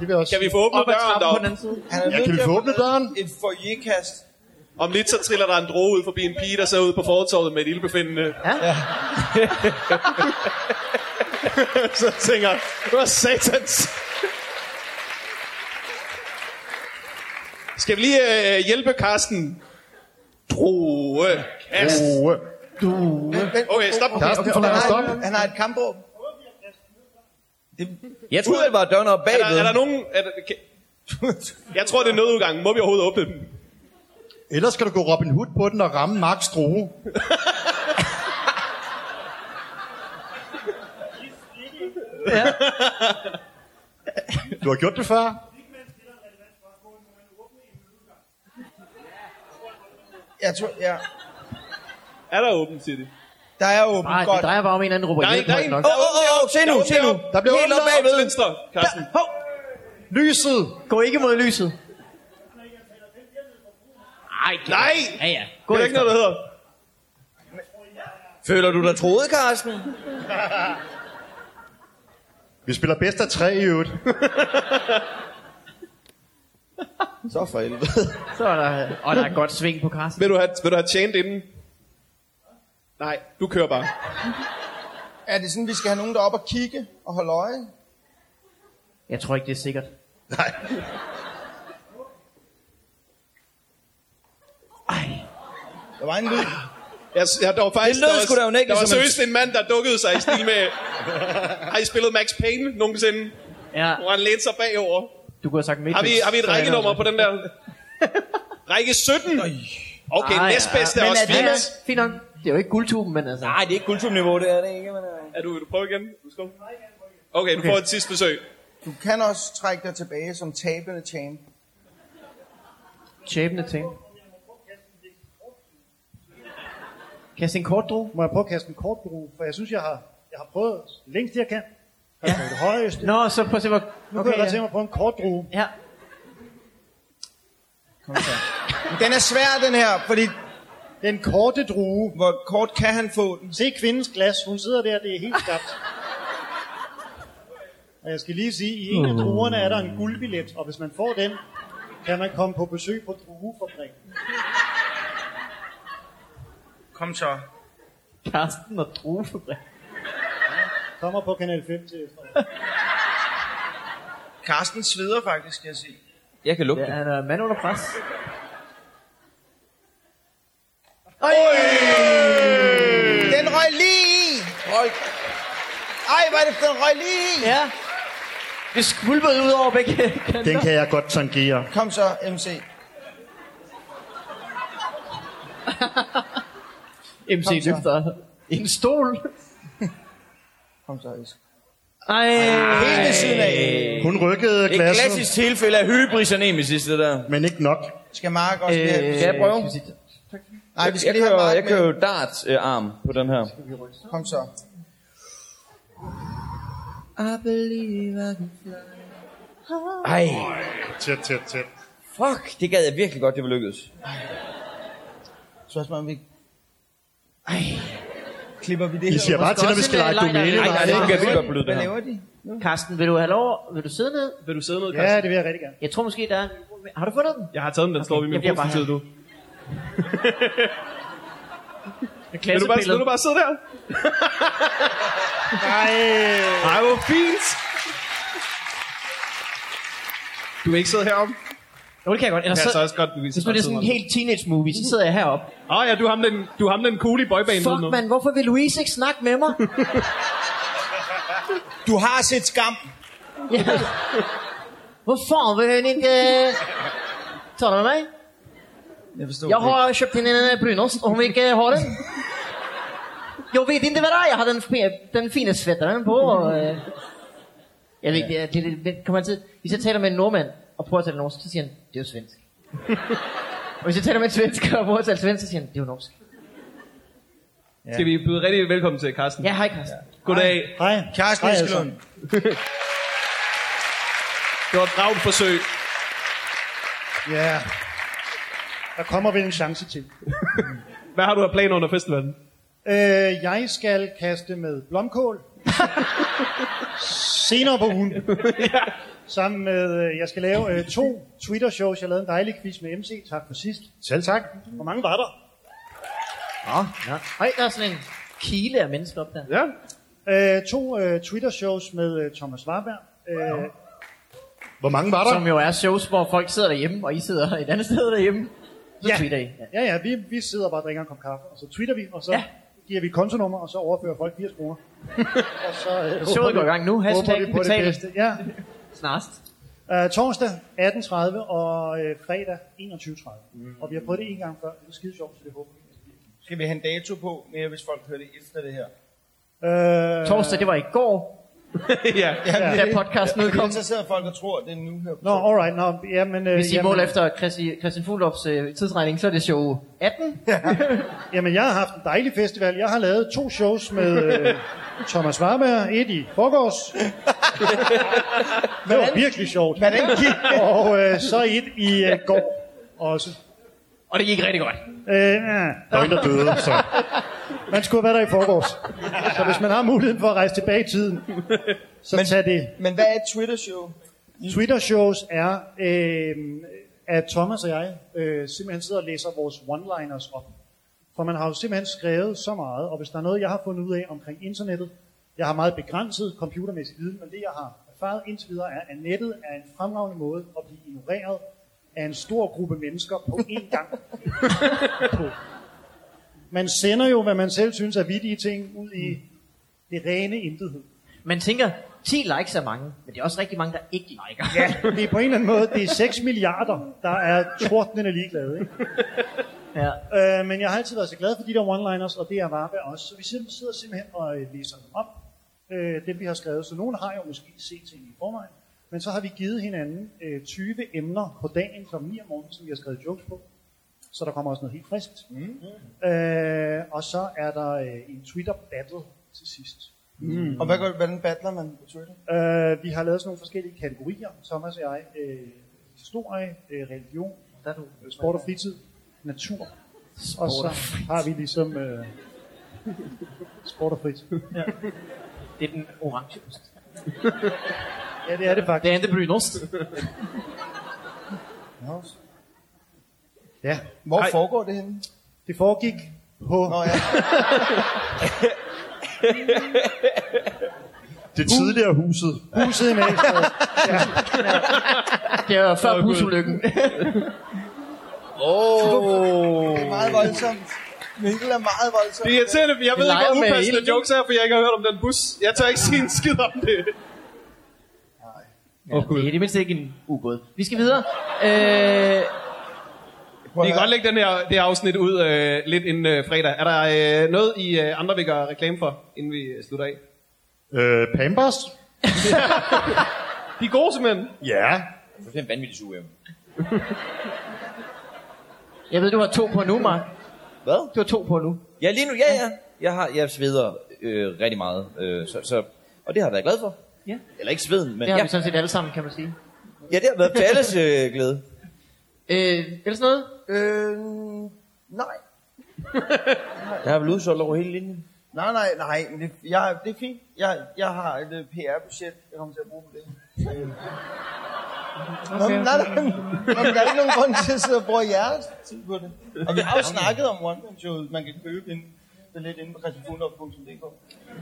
[SPEAKER 3] Det vil jeg også
[SPEAKER 1] kan vi
[SPEAKER 3] sige.
[SPEAKER 1] få åbnet
[SPEAKER 2] op ad
[SPEAKER 1] døren
[SPEAKER 2] trappen
[SPEAKER 1] dog.
[SPEAKER 2] på den anden side.
[SPEAKER 4] Han er
[SPEAKER 3] Ja,
[SPEAKER 4] nødt
[SPEAKER 3] kan vi
[SPEAKER 4] til at
[SPEAKER 3] få
[SPEAKER 4] få
[SPEAKER 3] åbnet
[SPEAKER 4] lavet
[SPEAKER 3] døren?
[SPEAKER 4] Et foyerkast.
[SPEAKER 1] Om lidt så triller der en droge ud forbi en pige, der ser ud på fortorvet med et ildbefindende.
[SPEAKER 2] Ja.
[SPEAKER 1] så tænker jeg, hvor satans. Skal vi lige øh, hjælpe Karsten? Droe. Kast.
[SPEAKER 3] Droe.
[SPEAKER 4] Vent, vent.
[SPEAKER 1] Okay, stop.
[SPEAKER 3] Der er sådan,
[SPEAKER 4] Han,
[SPEAKER 3] okay, stop.
[SPEAKER 4] har, han har et kampvåben.
[SPEAKER 5] Jeg troede, det var døren op
[SPEAKER 1] Er der, er der
[SPEAKER 5] bagved.
[SPEAKER 1] nogen... Er der, kan, jeg tror, det er nødudgangen. Må vi overhovedet åbne den?
[SPEAKER 3] Ellers skal du gå Robin Hood på den og ramme Max Droe. Du har gjort det før.
[SPEAKER 4] Jeg tror, ja.
[SPEAKER 1] Er der åbent, siger de.
[SPEAKER 4] Der er åbent
[SPEAKER 2] Nej, det
[SPEAKER 4] godt.
[SPEAKER 2] drejer bare om en eller anden råber
[SPEAKER 1] Der er en, der er en.
[SPEAKER 2] nok.
[SPEAKER 5] Åh, åh, åh, se nu, se nu.
[SPEAKER 3] Der bliver
[SPEAKER 5] Helt op
[SPEAKER 3] åbnet op
[SPEAKER 1] Til
[SPEAKER 5] bagved.
[SPEAKER 1] venstre, Karsten.
[SPEAKER 2] Hov,
[SPEAKER 3] Lyset!
[SPEAKER 2] gå ikke mod lyset. Nej,
[SPEAKER 1] Nej!
[SPEAKER 2] Ja, ja.
[SPEAKER 1] Det
[SPEAKER 2] Gå
[SPEAKER 1] er der
[SPEAKER 2] efter.
[SPEAKER 1] ikke noget, der hedder.
[SPEAKER 5] Føler du dig troet, Karsten?
[SPEAKER 3] Vi spiller bedst af tre i øvrigt.
[SPEAKER 5] Så for helvede.
[SPEAKER 2] Så er der, og der er godt sving på Carsten.
[SPEAKER 1] Vil du have, vil du have tjent inden? Nej, du kører bare.
[SPEAKER 4] Er det sådan, vi skal have nogen deroppe og kigge og holde øje?
[SPEAKER 2] Jeg tror ikke, det er sikkert.
[SPEAKER 3] Nej.
[SPEAKER 4] Der var en lyd.
[SPEAKER 1] Jeg, jeg, der var faktisk,
[SPEAKER 5] Det lød
[SPEAKER 1] der var,
[SPEAKER 5] sgu da jo ikke
[SPEAKER 1] der var
[SPEAKER 5] som en-
[SPEAKER 1] seriøst en mand, der dukkede sig i stil med... har I spillet Max Payne nogensinde?
[SPEAKER 2] Ja,
[SPEAKER 1] Hvor han lænede sig bagover.
[SPEAKER 2] du kunne have sagt midt.
[SPEAKER 1] Har vi, har vi et rækkenummer på den der? Række 17. Okay,
[SPEAKER 2] Ah, ja.
[SPEAKER 1] næstbedste er
[SPEAKER 2] Men
[SPEAKER 1] også
[SPEAKER 2] det er
[SPEAKER 1] fint.
[SPEAKER 2] fint nok. Det er jo ikke guldtuben, men altså.
[SPEAKER 5] Nej, det er ikke kulturniveau, det er det ikke. Men, øh.
[SPEAKER 1] Er du, vil du prøve igen? Husk om. Okay, du får et sidste forsøg.
[SPEAKER 4] Du kan også trække dig tilbage som tabende champ.
[SPEAKER 2] Shapende ting. Kast en kort drue.
[SPEAKER 3] Må jeg prøve at kaste en kort bro, for jeg synes, jeg har, jeg har prøvet længst, jeg kan. Jeg har ja. det højeste.
[SPEAKER 2] Nå, så prøv at se, hvor...
[SPEAKER 3] Nu okay,
[SPEAKER 2] Okay,
[SPEAKER 3] kunne jeg godt tænke
[SPEAKER 2] ja.
[SPEAKER 3] mig at prøve en kort drue.
[SPEAKER 2] ja.
[SPEAKER 4] Den er svær, den her, fordi
[SPEAKER 3] Den korte drue.
[SPEAKER 4] hvor kort kan han få den?
[SPEAKER 3] Se kvindens glas, hun sidder der, det er helt skabt. Og jeg skal lige sige, i en af druerne er der en guldbillet, og hvis man får den, kan man komme på besøg på druefabrikken.
[SPEAKER 6] Kom så.
[SPEAKER 2] Karsten og druefabrik.
[SPEAKER 3] Kommer på Kanal 5 til
[SPEAKER 4] Karsten sveder faktisk, skal jeg sige.
[SPEAKER 5] Jeg kan lugte
[SPEAKER 2] Ja,
[SPEAKER 5] det.
[SPEAKER 2] han er mand under pres.
[SPEAKER 4] Den røg lige i! Hold. Ej, hvor er det, den røg lige i!
[SPEAKER 2] Ja. Det skvulpede ud over begge
[SPEAKER 7] Den
[SPEAKER 2] kanter.
[SPEAKER 7] kan jeg godt tangere.
[SPEAKER 4] Kom så, MC.
[SPEAKER 2] MC
[SPEAKER 4] Kom så.
[SPEAKER 2] løfter en stol.
[SPEAKER 4] Kom så, Isk.
[SPEAKER 2] Ej.
[SPEAKER 4] Helt ved siden af.
[SPEAKER 7] Hun rykkede
[SPEAKER 5] Det er et
[SPEAKER 7] glasset,
[SPEAKER 5] klassisk tilfælde af hybris og nemesis, det der.
[SPEAKER 7] men ikke nok.
[SPEAKER 4] Skal Mark også lige
[SPEAKER 2] Øh,
[SPEAKER 4] have...
[SPEAKER 5] Skal jeg prøve?
[SPEAKER 2] skal vi sige-
[SPEAKER 4] Nej, vi skal
[SPEAKER 5] jeg,
[SPEAKER 4] lige have
[SPEAKER 5] kører,
[SPEAKER 4] Mark
[SPEAKER 5] jeg kører jo dart-arm på den her.
[SPEAKER 4] med. Kom så.
[SPEAKER 5] Ej,
[SPEAKER 7] Tæt, tæt, tæt.
[SPEAKER 5] fuck, det gad jeg virkelig godt, det var lykkedes.
[SPEAKER 4] Spørgsmålet om vi...
[SPEAKER 5] Ej,
[SPEAKER 4] Klipper vi det
[SPEAKER 7] I
[SPEAKER 4] her?
[SPEAKER 7] siger bare til, når vi skal lege domæne.
[SPEAKER 5] nej, nej, det kan jeg virkelig godt
[SPEAKER 4] ud?
[SPEAKER 5] belyde
[SPEAKER 4] Hvad
[SPEAKER 5] det her.
[SPEAKER 4] laver de?
[SPEAKER 2] Karsten, vil du have lov? Vil du sidde ned?
[SPEAKER 1] Vil du sidde ned, Carsten?
[SPEAKER 3] Ja, det vil jeg rigtig gerne.
[SPEAKER 2] Jeg tror måske, der er... Har du fundet den?
[SPEAKER 1] Jeg har taget den, den står ved min
[SPEAKER 2] jeg bliver bare
[SPEAKER 1] brugstid, du. Vil du bare, vil
[SPEAKER 2] Klassepillet.
[SPEAKER 1] du bare sidde der? Nej. Ej, hvor fint. Du vil ikke sidde herom?
[SPEAKER 2] Jo, det kan jeg godt. Eller
[SPEAKER 1] Ja, så
[SPEAKER 2] så,
[SPEAKER 1] også godt, du
[SPEAKER 2] hvis nu det er sådan en helt teenage-movie, så sidder jeg heroppe.
[SPEAKER 1] Åh oh, ja, du er ham den, du er ham den cool i boybanen
[SPEAKER 2] Fuck,
[SPEAKER 1] nu.
[SPEAKER 2] mand, hvorfor vil Louise ikke snakke med mig?
[SPEAKER 4] Du har set skam.
[SPEAKER 2] ja. Hvorfor vil hun ikke... øh, Tale med mig?
[SPEAKER 4] Jeg forstår
[SPEAKER 2] Jeg har köpt in en øh, brunost, og hon vill inte ha den. Jag vet inte vad det är, jag hade den, fe- den fina svettaren på. och, eh, Jag vet inte, det, det, det kommer alltid... Hvis jag talar med en norrman och prøver at tale norsk, så siger han, det er jo svensk. og hvis jeg taler med en svensker og prøver at tale svensk, så siger han, det er jo norsk.
[SPEAKER 1] Skal vi byde rigtig velkommen til Carsten?
[SPEAKER 2] Ja, hej Carsten.
[SPEAKER 1] Goddag.
[SPEAKER 3] Hej.
[SPEAKER 4] Karsten
[SPEAKER 3] Hej,
[SPEAKER 4] Eskelund.
[SPEAKER 1] Det var et bravt forsøg.
[SPEAKER 3] Ja. Der kommer vel en chance til.
[SPEAKER 1] Hvad har du af planer under festivalen?
[SPEAKER 3] Øh, jeg skal kaste med blomkål. Senere på ugen. Sammen med, øh, jeg skal lave øh, to Twitter-shows. Jeg lavede en dejlig quiz med MC. Tak for sidst.
[SPEAKER 7] Selv tak.
[SPEAKER 3] Hvor mange var der?
[SPEAKER 2] Hej, der er sådan en kile af mennesker op der.
[SPEAKER 1] Ja.
[SPEAKER 3] Øh, to øh, Twitter-shows med øh, Thomas Warberg. Øh,
[SPEAKER 7] Hvor mange var der?
[SPEAKER 2] Som jo er shows, hvor folk sidder derhjemme, og I sidder et andet sted derhjemme. Så
[SPEAKER 3] Ja.
[SPEAKER 2] tweeter I. Ja.
[SPEAKER 3] ja, ja, vi, vi sidder bare og drikker en kop kaffe, og så tweeter vi, og så
[SPEAKER 2] Ja.
[SPEAKER 3] ja. giver vi kontonummer, og så overfører folk 80 kroner. og så, øh,
[SPEAKER 2] Showet
[SPEAKER 3] håber
[SPEAKER 2] går
[SPEAKER 3] vi-
[SPEAKER 2] i gang nu.
[SPEAKER 3] håber
[SPEAKER 2] Hashtag
[SPEAKER 3] vi på det
[SPEAKER 2] betal.
[SPEAKER 3] bedste. Ja.
[SPEAKER 2] Snarest.
[SPEAKER 3] Uh, torsdag 18.30 og øh, fredag 21.30. Mm. Og vi har prøvet det en gang før. Det er skide sjovt, så det håber vi.
[SPEAKER 4] Skal vi have en dato på, mere hvis folk hører det efter det her?
[SPEAKER 3] Øh,
[SPEAKER 2] Torsdag, det var i går,
[SPEAKER 1] ja.
[SPEAKER 2] da podcasten
[SPEAKER 4] Jeg er
[SPEAKER 2] udkom.
[SPEAKER 4] interesseret, at folk der tror, at det er nu her.
[SPEAKER 3] Nå, alright. Nå, jamen, øh,
[SPEAKER 2] Hvis I
[SPEAKER 3] jamen,
[SPEAKER 2] måler efter Christi- Christian Fuglofs øh, tidsregning, så er det show 18.
[SPEAKER 3] Jamen, jeg har haft en dejlig festival. Jeg har lavet to shows med øh, Thomas Warberg. Et i forgårs. det var virkelig sjovt.
[SPEAKER 4] Hvordan gik det?
[SPEAKER 3] Og øh, så et i øh, går også.
[SPEAKER 2] Og det gik rigtig godt.
[SPEAKER 3] Øh, ja.
[SPEAKER 7] Der var en, der døde, så.
[SPEAKER 3] man skulle have været der i forgårs. Så hvis man har muligheden for at rejse tilbage i tiden, så Men... tag det.
[SPEAKER 4] Men hvad er et Twitter-show?
[SPEAKER 3] Twitter-shows er, øh, at Thomas og jeg øh, simpelthen sidder og læser vores one-liners op. For man har jo simpelthen skrevet så meget, og hvis der er noget, jeg har fundet ud af omkring internettet, jeg har meget begrænset computermæssig viden, men det jeg har erfaret indtil videre er, at nettet er en fremragende måde at blive ignoreret af en stor gruppe mennesker på én gang. på. Man sender jo, hvad man selv synes er vittige ting ud i det rene intethed.
[SPEAKER 2] Man tænker, 10 likes er mange, men det er også rigtig mange, der ikke liker.
[SPEAKER 3] Ja, det er på en eller anden måde, det er 6 milliarder, der er tordnende ligeglade. Ikke?
[SPEAKER 2] ja.
[SPEAKER 3] Øh, men jeg har altid været så glad for de der one-liners, og det er Varberg også. Så vi sim- sidder simpelthen og øh, læser dem op, øh, dem vi har skrevet. Så nogen har jo måske set ting i forvejen. Men så har vi givet hinanden øh, 20 emner på dagen kl. 9 om morgenen, som vi har skrevet jokes på. Så der kommer også noget helt friskt. Mm. Øh, og så er der øh, en Twitter-battle til sidst.
[SPEAKER 4] Og hvad gør, hvordan battler man på Twitter?
[SPEAKER 3] Øh, vi har lavet sådan nogle forskellige kategorier, Thomas og jeg. Øh, historie, øh, religion,
[SPEAKER 2] Der er du.
[SPEAKER 3] øh, sport og fritid, natur. Og så har vi ligesom øh, sport og fritid.
[SPEAKER 2] Det er den orange ost.
[SPEAKER 3] Ja, det er det
[SPEAKER 2] Det
[SPEAKER 3] faktisk.
[SPEAKER 2] er en det brynost.
[SPEAKER 3] Ja.
[SPEAKER 4] Hvor Ej. foregår det henne?
[SPEAKER 3] Det foregik på...
[SPEAKER 4] Nå ja,
[SPEAKER 8] Det tidligere huset.
[SPEAKER 3] Huset i Næstved.
[SPEAKER 2] Det var før busulykken.
[SPEAKER 4] det er meget voldsomt. Mikkel er meget voldsom.
[SPEAKER 1] Det er irriterende, for jeg ved ikke,
[SPEAKER 2] leger
[SPEAKER 1] hvor
[SPEAKER 2] med
[SPEAKER 1] upassende
[SPEAKER 2] ilden.
[SPEAKER 1] jokes er, for jeg ikke har hørt om den bus. Jeg tør ikke sige en skid om det.
[SPEAKER 2] Ja, det er i det mindste ikke en ubåd. Vi skal videre. Øh,
[SPEAKER 1] Vi kan godt lægge den her, det her afsnit ud øh, lidt inden øh, fredag. Er der øh, noget, I øh, andre vil gøre reklame for, inden vi øh, slutter af?
[SPEAKER 8] Øh, Pampers?
[SPEAKER 1] De er gode simpelthen.
[SPEAKER 8] Ja.
[SPEAKER 5] Det er en vanvittig suge.
[SPEAKER 2] jeg ved, du har to på nu, Mark.
[SPEAKER 5] Hvad?
[SPEAKER 2] Du har to på nu.
[SPEAKER 5] Ja, lige nu, ja, ja. Jeg, har, jeg sveder øh, rigtig meget, øh, så, så, og det har jeg været glad for.
[SPEAKER 2] Ja.
[SPEAKER 5] Eller ikke sveden, men
[SPEAKER 2] Det har
[SPEAKER 5] ja,
[SPEAKER 2] vi sådan set alle sammen, kan man sige.
[SPEAKER 5] ja, det har været til alles øh, glæde.
[SPEAKER 2] Øh, ellers noget?
[SPEAKER 4] Øh, nej.
[SPEAKER 5] Jeg har vel udsolgt over hele linjen.
[SPEAKER 4] Nej, nej, nej. Men det, jeg, det er fint. Jeg, jeg har et øh, PR-budget, jeg kommer til at bruge på det. Øh. Nå, men, nej, nej. Nå, men der er ikke nogen grund til at sidde og bruge jeres tid på det. Og vi har jo snakket om one man showet man kan købe en billet inde på christianfundorp.dk.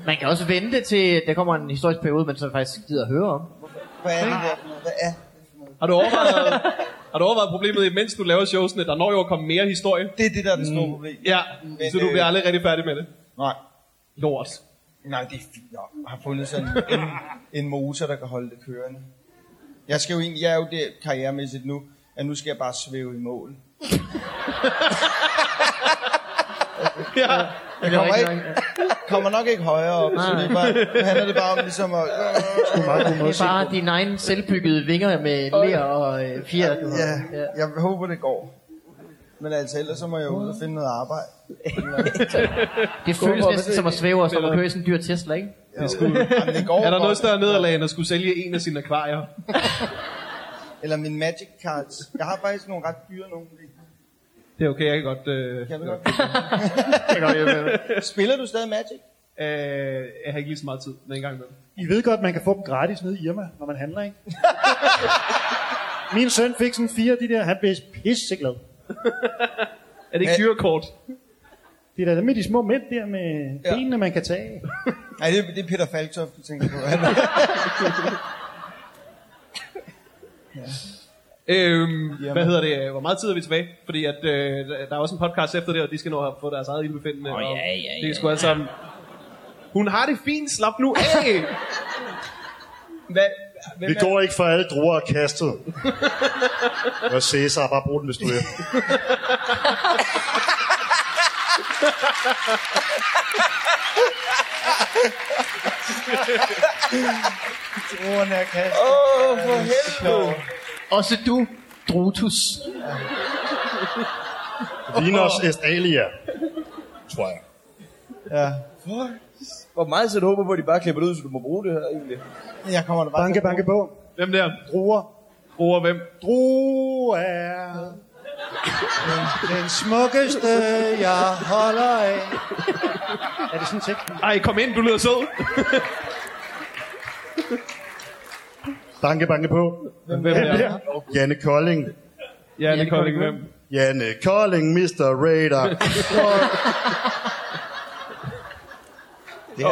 [SPEAKER 2] Man kan også vente til, der kommer en historisk periode, man så faktisk gider at høre om.
[SPEAKER 4] Hvad er det her for noget? Hvad er det for noget?
[SPEAKER 1] Har du overvejet, har du overvejet problemet, imens du laver showsene? Der når jo at komme mere historie.
[SPEAKER 4] Det er det, der er det store problem.
[SPEAKER 1] Ja,
[SPEAKER 4] Men,
[SPEAKER 1] så du
[SPEAKER 4] øh,
[SPEAKER 1] bliver aldrig rigtig færdig med det.
[SPEAKER 4] Nej,
[SPEAKER 1] Lort.
[SPEAKER 4] nej, det er fint nok. Jeg har fundet sådan en, en motor, der kan holde det kørende. Jeg, skal jo egentlig, jeg er jo der karrieremæssigt nu, at nu skal jeg bare svæve i mål.
[SPEAKER 1] Ja.
[SPEAKER 4] Jeg
[SPEAKER 2] Det er
[SPEAKER 4] kommer,
[SPEAKER 2] rigtig
[SPEAKER 4] ikke,
[SPEAKER 2] nok,
[SPEAKER 4] kommer nok ikke højere op, så det er bare, nu handler det bare om ligesom at...
[SPEAKER 2] ja. Det er bare dine egne selvbyggede vinger med ler og øh, fjer. du har.
[SPEAKER 4] Ja, jeg håber, det går. Men altså, ellers så må jeg ud og finde noget arbejde.
[SPEAKER 2] Det føles næsten som at svæve og som at køre i sådan en dyr Tesla, ikke?
[SPEAKER 4] Det skulle, jamen, det går
[SPEAKER 1] Er der
[SPEAKER 4] godt.
[SPEAKER 1] noget større nederlag, end at skulle sælge en af sine akvarier?
[SPEAKER 4] Eller min magic cards. Jeg har faktisk nogle ret dyre nogle.
[SPEAKER 1] Det er okay, jeg kan godt... Øh,
[SPEAKER 4] Kan du godt? Spiller du stadig magic?
[SPEAKER 1] øh, jeg har ikke lige så meget tid, men en gang imellem.
[SPEAKER 3] I ved godt, man kan få dem gratis nede i Irma, når man handler, ikke? Min søn fik sådan fire af de der, han blev pisseglad.
[SPEAKER 1] Er det ikke dyrekort?
[SPEAKER 3] Det er da med de små mænd der med
[SPEAKER 4] Ja.
[SPEAKER 3] benene, man kan tage.
[SPEAKER 4] Nej, det, er- det er Peter Falktoft, du tænker på.
[SPEAKER 1] Øhm, hvad hedder det? Hvor meget tid er vi tilbage? Fordi at, øh, der er også en podcast efter det, og de skal nå at få deres eget ildbefindende.
[SPEAKER 5] Åh,
[SPEAKER 1] og
[SPEAKER 5] ja, ja,
[SPEAKER 1] Det er
[SPEAKER 5] ja,
[SPEAKER 1] sgu alt sammen. Hun har det fint, slap nu af! hvad, hvem
[SPEAKER 8] Vi
[SPEAKER 1] er-
[SPEAKER 8] går ikke for alle druer er kastet. Hvad Cæsar, bare brug den, hvis du vil.
[SPEAKER 4] Ordene er kastet.
[SPEAKER 5] Åh, oh, for helvede.
[SPEAKER 2] Også du, Drutus.
[SPEAKER 8] Vinos est alia. Tror jeg.
[SPEAKER 4] Ja.
[SPEAKER 5] Hvor meget så du håber på, at de bare klipper det ud, så du må bruge det her egentlig.
[SPEAKER 4] Jeg kommer da bare
[SPEAKER 3] Banke, banke på.
[SPEAKER 1] hvem der?
[SPEAKER 3] Druer.
[SPEAKER 1] Bruger hvem?
[SPEAKER 3] Druer er den smukkeste, jeg holder af. Er det sådan en tekst?
[SPEAKER 1] Ej, kom ind, du lyder sød.
[SPEAKER 8] Banke, banke på.
[SPEAKER 1] Hvem, hvem der?
[SPEAKER 8] Janne Kolding.
[SPEAKER 1] Ja, det kommer ikke hvem.
[SPEAKER 8] Janne Kolding, Mr. Raider.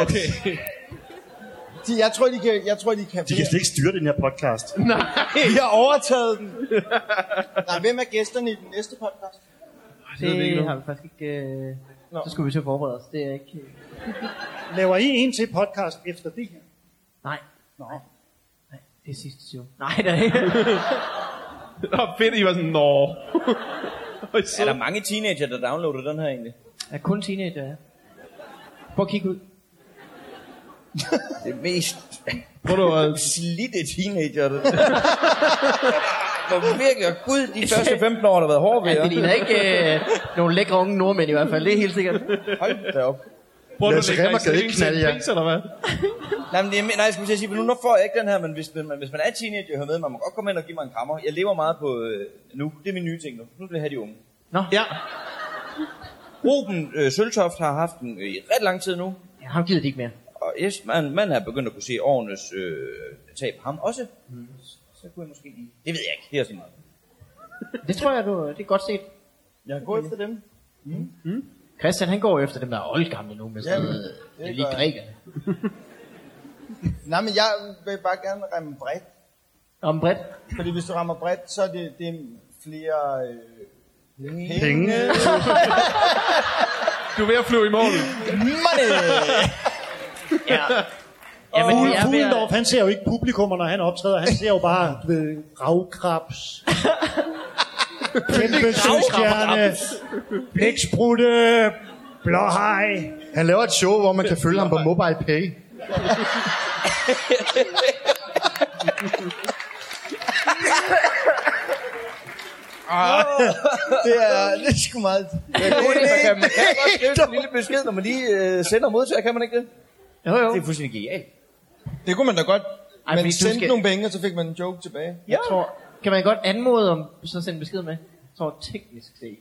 [SPEAKER 1] Okay.
[SPEAKER 4] De, jeg, tror, de kan, jeg tror, de kan...
[SPEAKER 8] De kan slet ikke styre den her podcast.
[SPEAKER 4] Vi har overtaget den. Nej, hvem er gæsterne i den næste podcast?
[SPEAKER 1] ved vi ikke
[SPEAKER 2] Det
[SPEAKER 1] nu.
[SPEAKER 2] har vi faktisk ikke... Øh... Så skulle vi til at forberede os. Det er ikke... øh,
[SPEAKER 3] Laver I en til podcast efter det her?
[SPEAKER 2] Nej.
[SPEAKER 9] Nå,
[SPEAKER 2] Det er sidste show. Nej, det er ikke.
[SPEAKER 1] Nå, fedt, I var sådan, nå. Og I
[SPEAKER 5] Er der
[SPEAKER 1] så-
[SPEAKER 5] mange teenager, der downloader den her egentlig?
[SPEAKER 2] Jeg er kun teenager, ja. Prøv at kigge ud.
[SPEAKER 5] Det mest
[SPEAKER 1] Prøv du at...
[SPEAKER 5] slidte teenager. det. Hvor virkelig, og gud, de første 15 år, der har været hårde ved
[SPEAKER 2] Ja, det
[SPEAKER 5] jer.
[SPEAKER 2] ligner ikke øh, nogle lækre unge nordmænd i hvert fald. Det er helt sikkert.
[SPEAKER 5] Hold da op.
[SPEAKER 1] Prøv
[SPEAKER 3] Lasse Remmer gad ikke knalde jer.
[SPEAKER 1] Pins, eller hvad?
[SPEAKER 5] Nej, men det, er me- nej, jeg skulle til at sige, for nu, nu får jeg ikke den her, men hvis man, hvis man er teenager og hører med, man må godt komme ind og give mig en krammer. Jeg lever meget på øh, nu. Det er min nye ting nu. Nu vil jeg have de unge.
[SPEAKER 2] Nå, ja.
[SPEAKER 5] Ruben øh, Søltoft har haft den øh, i ret lang tid nu.
[SPEAKER 2] Ja, ham gider de ikke mere.
[SPEAKER 5] Og yes, man, man er begyndt at kunne se årenes øh, tab ham også. Så kunne jeg måske lige... Det ved jeg ikke. Det er sådan meget.
[SPEAKER 2] Det tror jeg, du, det er godt set.
[SPEAKER 5] Jeg går efter dem.
[SPEAKER 2] Christian, han går jo efter dem, der er oldgamle nu, med sådan noget, det er lige
[SPEAKER 4] gør jeg.
[SPEAKER 2] grækerne.
[SPEAKER 4] Nej, men jeg vil bare gerne ramme bredt.
[SPEAKER 2] Om bredt.
[SPEAKER 4] Fordi hvis du rammer bredt, så er det, det er flere øh, penge.
[SPEAKER 3] Penge.
[SPEAKER 1] Du er ved at flyve i mål.
[SPEAKER 2] Ja. Jamen, det er ved at...
[SPEAKER 9] Fuglendorf, han ser jo ikke publikummer, når han optræder. Han ser jo bare du ved, ravkrabs, kæmpe søstjerne, blæksprutte, blåhej.
[SPEAKER 3] Han laver et show, hvor man kan følge ham på mobile pay.
[SPEAKER 4] Det er, det er sgu meget...
[SPEAKER 5] Men det, det, man kan, man kan godt skrive en lille besked, når man lige øh, sender og modtager, kan man ikke det?
[SPEAKER 2] Jo, jo.
[SPEAKER 5] Det er fuldstændig genialt.
[SPEAKER 4] Det kunne man da godt.
[SPEAKER 2] Ej, fordi
[SPEAKER 4] man
[SPEAKER 2] du
[SPEAKER 4] sendte
[SPEAKER 2] skal-
[SPEAKER 4] skal... nogle penge, og så fik man en joke tilbage.
[SPEAKER 2] Jeg tror, kan man godt anmode om sådan at sende besked med? Jeg tror teknisk set,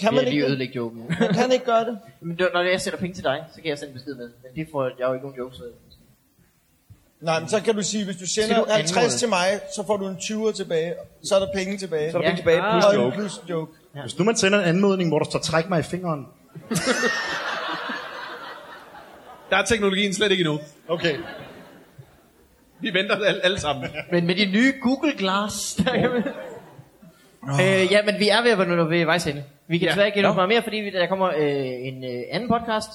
[SPEAKER 4] Kan
[SPEAKER 2] vil
[SPEAKER 4] man
[SPEAKER 2] jeg
[SPEAKER 4] ikke
[SPEAKER 2] lige
[SPEAKER 4] det?
[SPEAKER 2] ødelægge joken.
[SPEAKER 4] Man kan ikke gøre det.
[SPEAKER 2] Men det- når jeg sender penge til dig, så kan jeg sende besked med. Men det får jeg, jeg har jo ikke nogen jokes ved.
[SPEAKER 4] Nej, men så kan du sige, hvis du
[SPEAKER 2] Skal
[SPEAKER 4] sender
[SPEAKER 2] du
[SPEAKER 4] 50
[SPEAKER 2] anmode?
[SPEAKER 4] til mig, så får du en 20'er tilbage. Så er der penge tilbage.
[SPEAKER 5] Så er der
[SPEAKER 2] Ja.
[SPEAKER 5] ja. tilbage plus
[SPEAKER 4] og en
[SPEAKER 5] joke.
[SPEAKER 4] plus joke.
[SPEAKER 3] Hvis nu man sender en anmodning, hvor der står, træk mig i fingeren.
[SPEAKER 1] Der er teknologien slet ikke endnu.
[SPEAKER 3] Okay.
[SPEAKER 1] Vi venter alle, alle sammen.
[SPEAKER 2] Men med de nye Google Glass, der kan man... Øh, ja, men vi er ved at være nu ved vejs ende. Vi kan
[SPEAKER 1] Ja.
[SPEAKER 2] desværre ikke endnu meget mere, fordi vi- der kommer øh, en øh, anden podcast,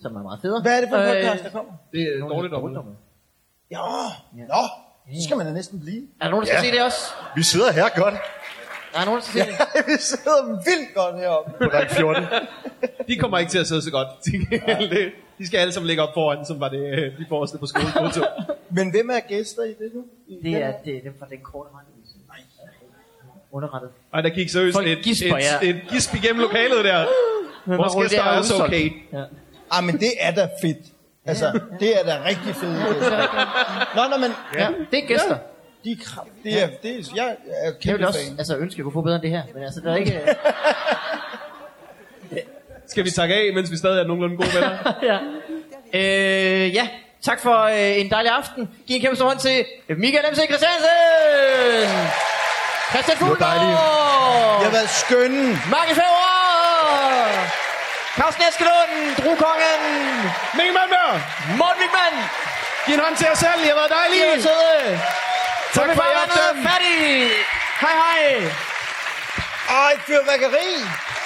[SPEAKER 2] som er meget federe.
[SPEAKER 4] Hvad er det for en
[SPEAKER 2] Øh,
[SPEAKER 4] podcast, der kommer?
[SPEAKER 1] Det er
[SPEAKER 2] Nogen,
[SPEAKER 1] dårligt
[SPEAKER 2] der-
[SPEAKER 1] om.
[SPEAKER 4] Ja, nå. Så skal man da næsten blive.
[SPEAKER 2] Er der nogen, der skal
[SPEAKER 3] Ja.
[SPEAKER 2] se det også?
[SPEAKER 3] Vi sidder her godt
[SPEAKER 2] Der er nogen, der skal se det.
[SPEAKER 4] Vi sidder vildt godt heroppe.
[SPEAKER 3] på række 14.
[SPEAKER 1] De kommer ikke til at sidde så godt. til gengæld. Det- De skal alle sammen ligge op foran, som var det, øh, de forreste på skolefoto.
[SPEAKER 4] Men hvem er gæster i det nu? I
[SPEAKER 2] Det
[SPEAKER 4] den
[SPEAKER 2] er
[SPEAKER 4] her?
[SPEAKER 2] det, er dem fra den korte rette. Underrettet.
[SPEAKER 1] Og der gik seriøst
[SPEAKER 2] Folk
[SPEAKER 1] et,
[SPEAKER 2] gisper,
[SPEAKER 1] et,
[SPEAKER 2] ja.
[SPEAKER 1] et gisp igennem lokalet der.
[SPEAKER 2] Men
[SPEAKER 1] Vores
[SPEAKER 2] bare rolig,
[SPEAKER 1] gæster
[SPEAKER 2] det
[SPEAKER 1] er også
[SPEAKER 2] udsolgt.
[SPEAKER 1] okay.
[SPEAKER 2] Ja.
[SPEAKER 4] Ah, men det er da fedt. Altså, det er da rigtig fedt. Nå, nå, men
[SPEAKER 2] ja. Det er gæster.
[SPEAKER 4] de er krab. Det er, det er, jeg er
[SPEAKER 2] Jeg vil
[SPEAKER 4] kæmpe
[SPEAKER 2] også
[SPEAKER 4] fan.
[SPEAKER 2] altså, ønske, at jeg kunne få bedre end det her. Men altså, der er ikke...
[SPEAKER 1] Skal vi takke af, mens vi stadig er nogenlunde gode venner?
[SPEAKER 2] ja. Øh, ja. Tak for øh, en dejlig aften. Giv en kæmpe stor hånd til Michael M.C. Christiansen! Christian
[SPEAKER 4] Jeg har
[SPEAKER 2] Fuglgaard!
[SPEAKER 4] været skønne.
[SPEAKER 2] Markus Favre! Carsten Eskelund! Drukongen!
[SPEAKER 1] Mikkel Malmberg!
[SPEAKER 2] Morten Wigman!
[SPEAKER 1] Giv en hånd til jer selv, I har været
[SPEAKER 2] I
[SPEAKER 1] dejlige!
[SPEAKER 2] er søde!
[SPEAKER 1] Tak for i aften!
[SPEAKER 2] Færdig! Hej hej!
[SPEAKER 4] Ej, fyrværkeri!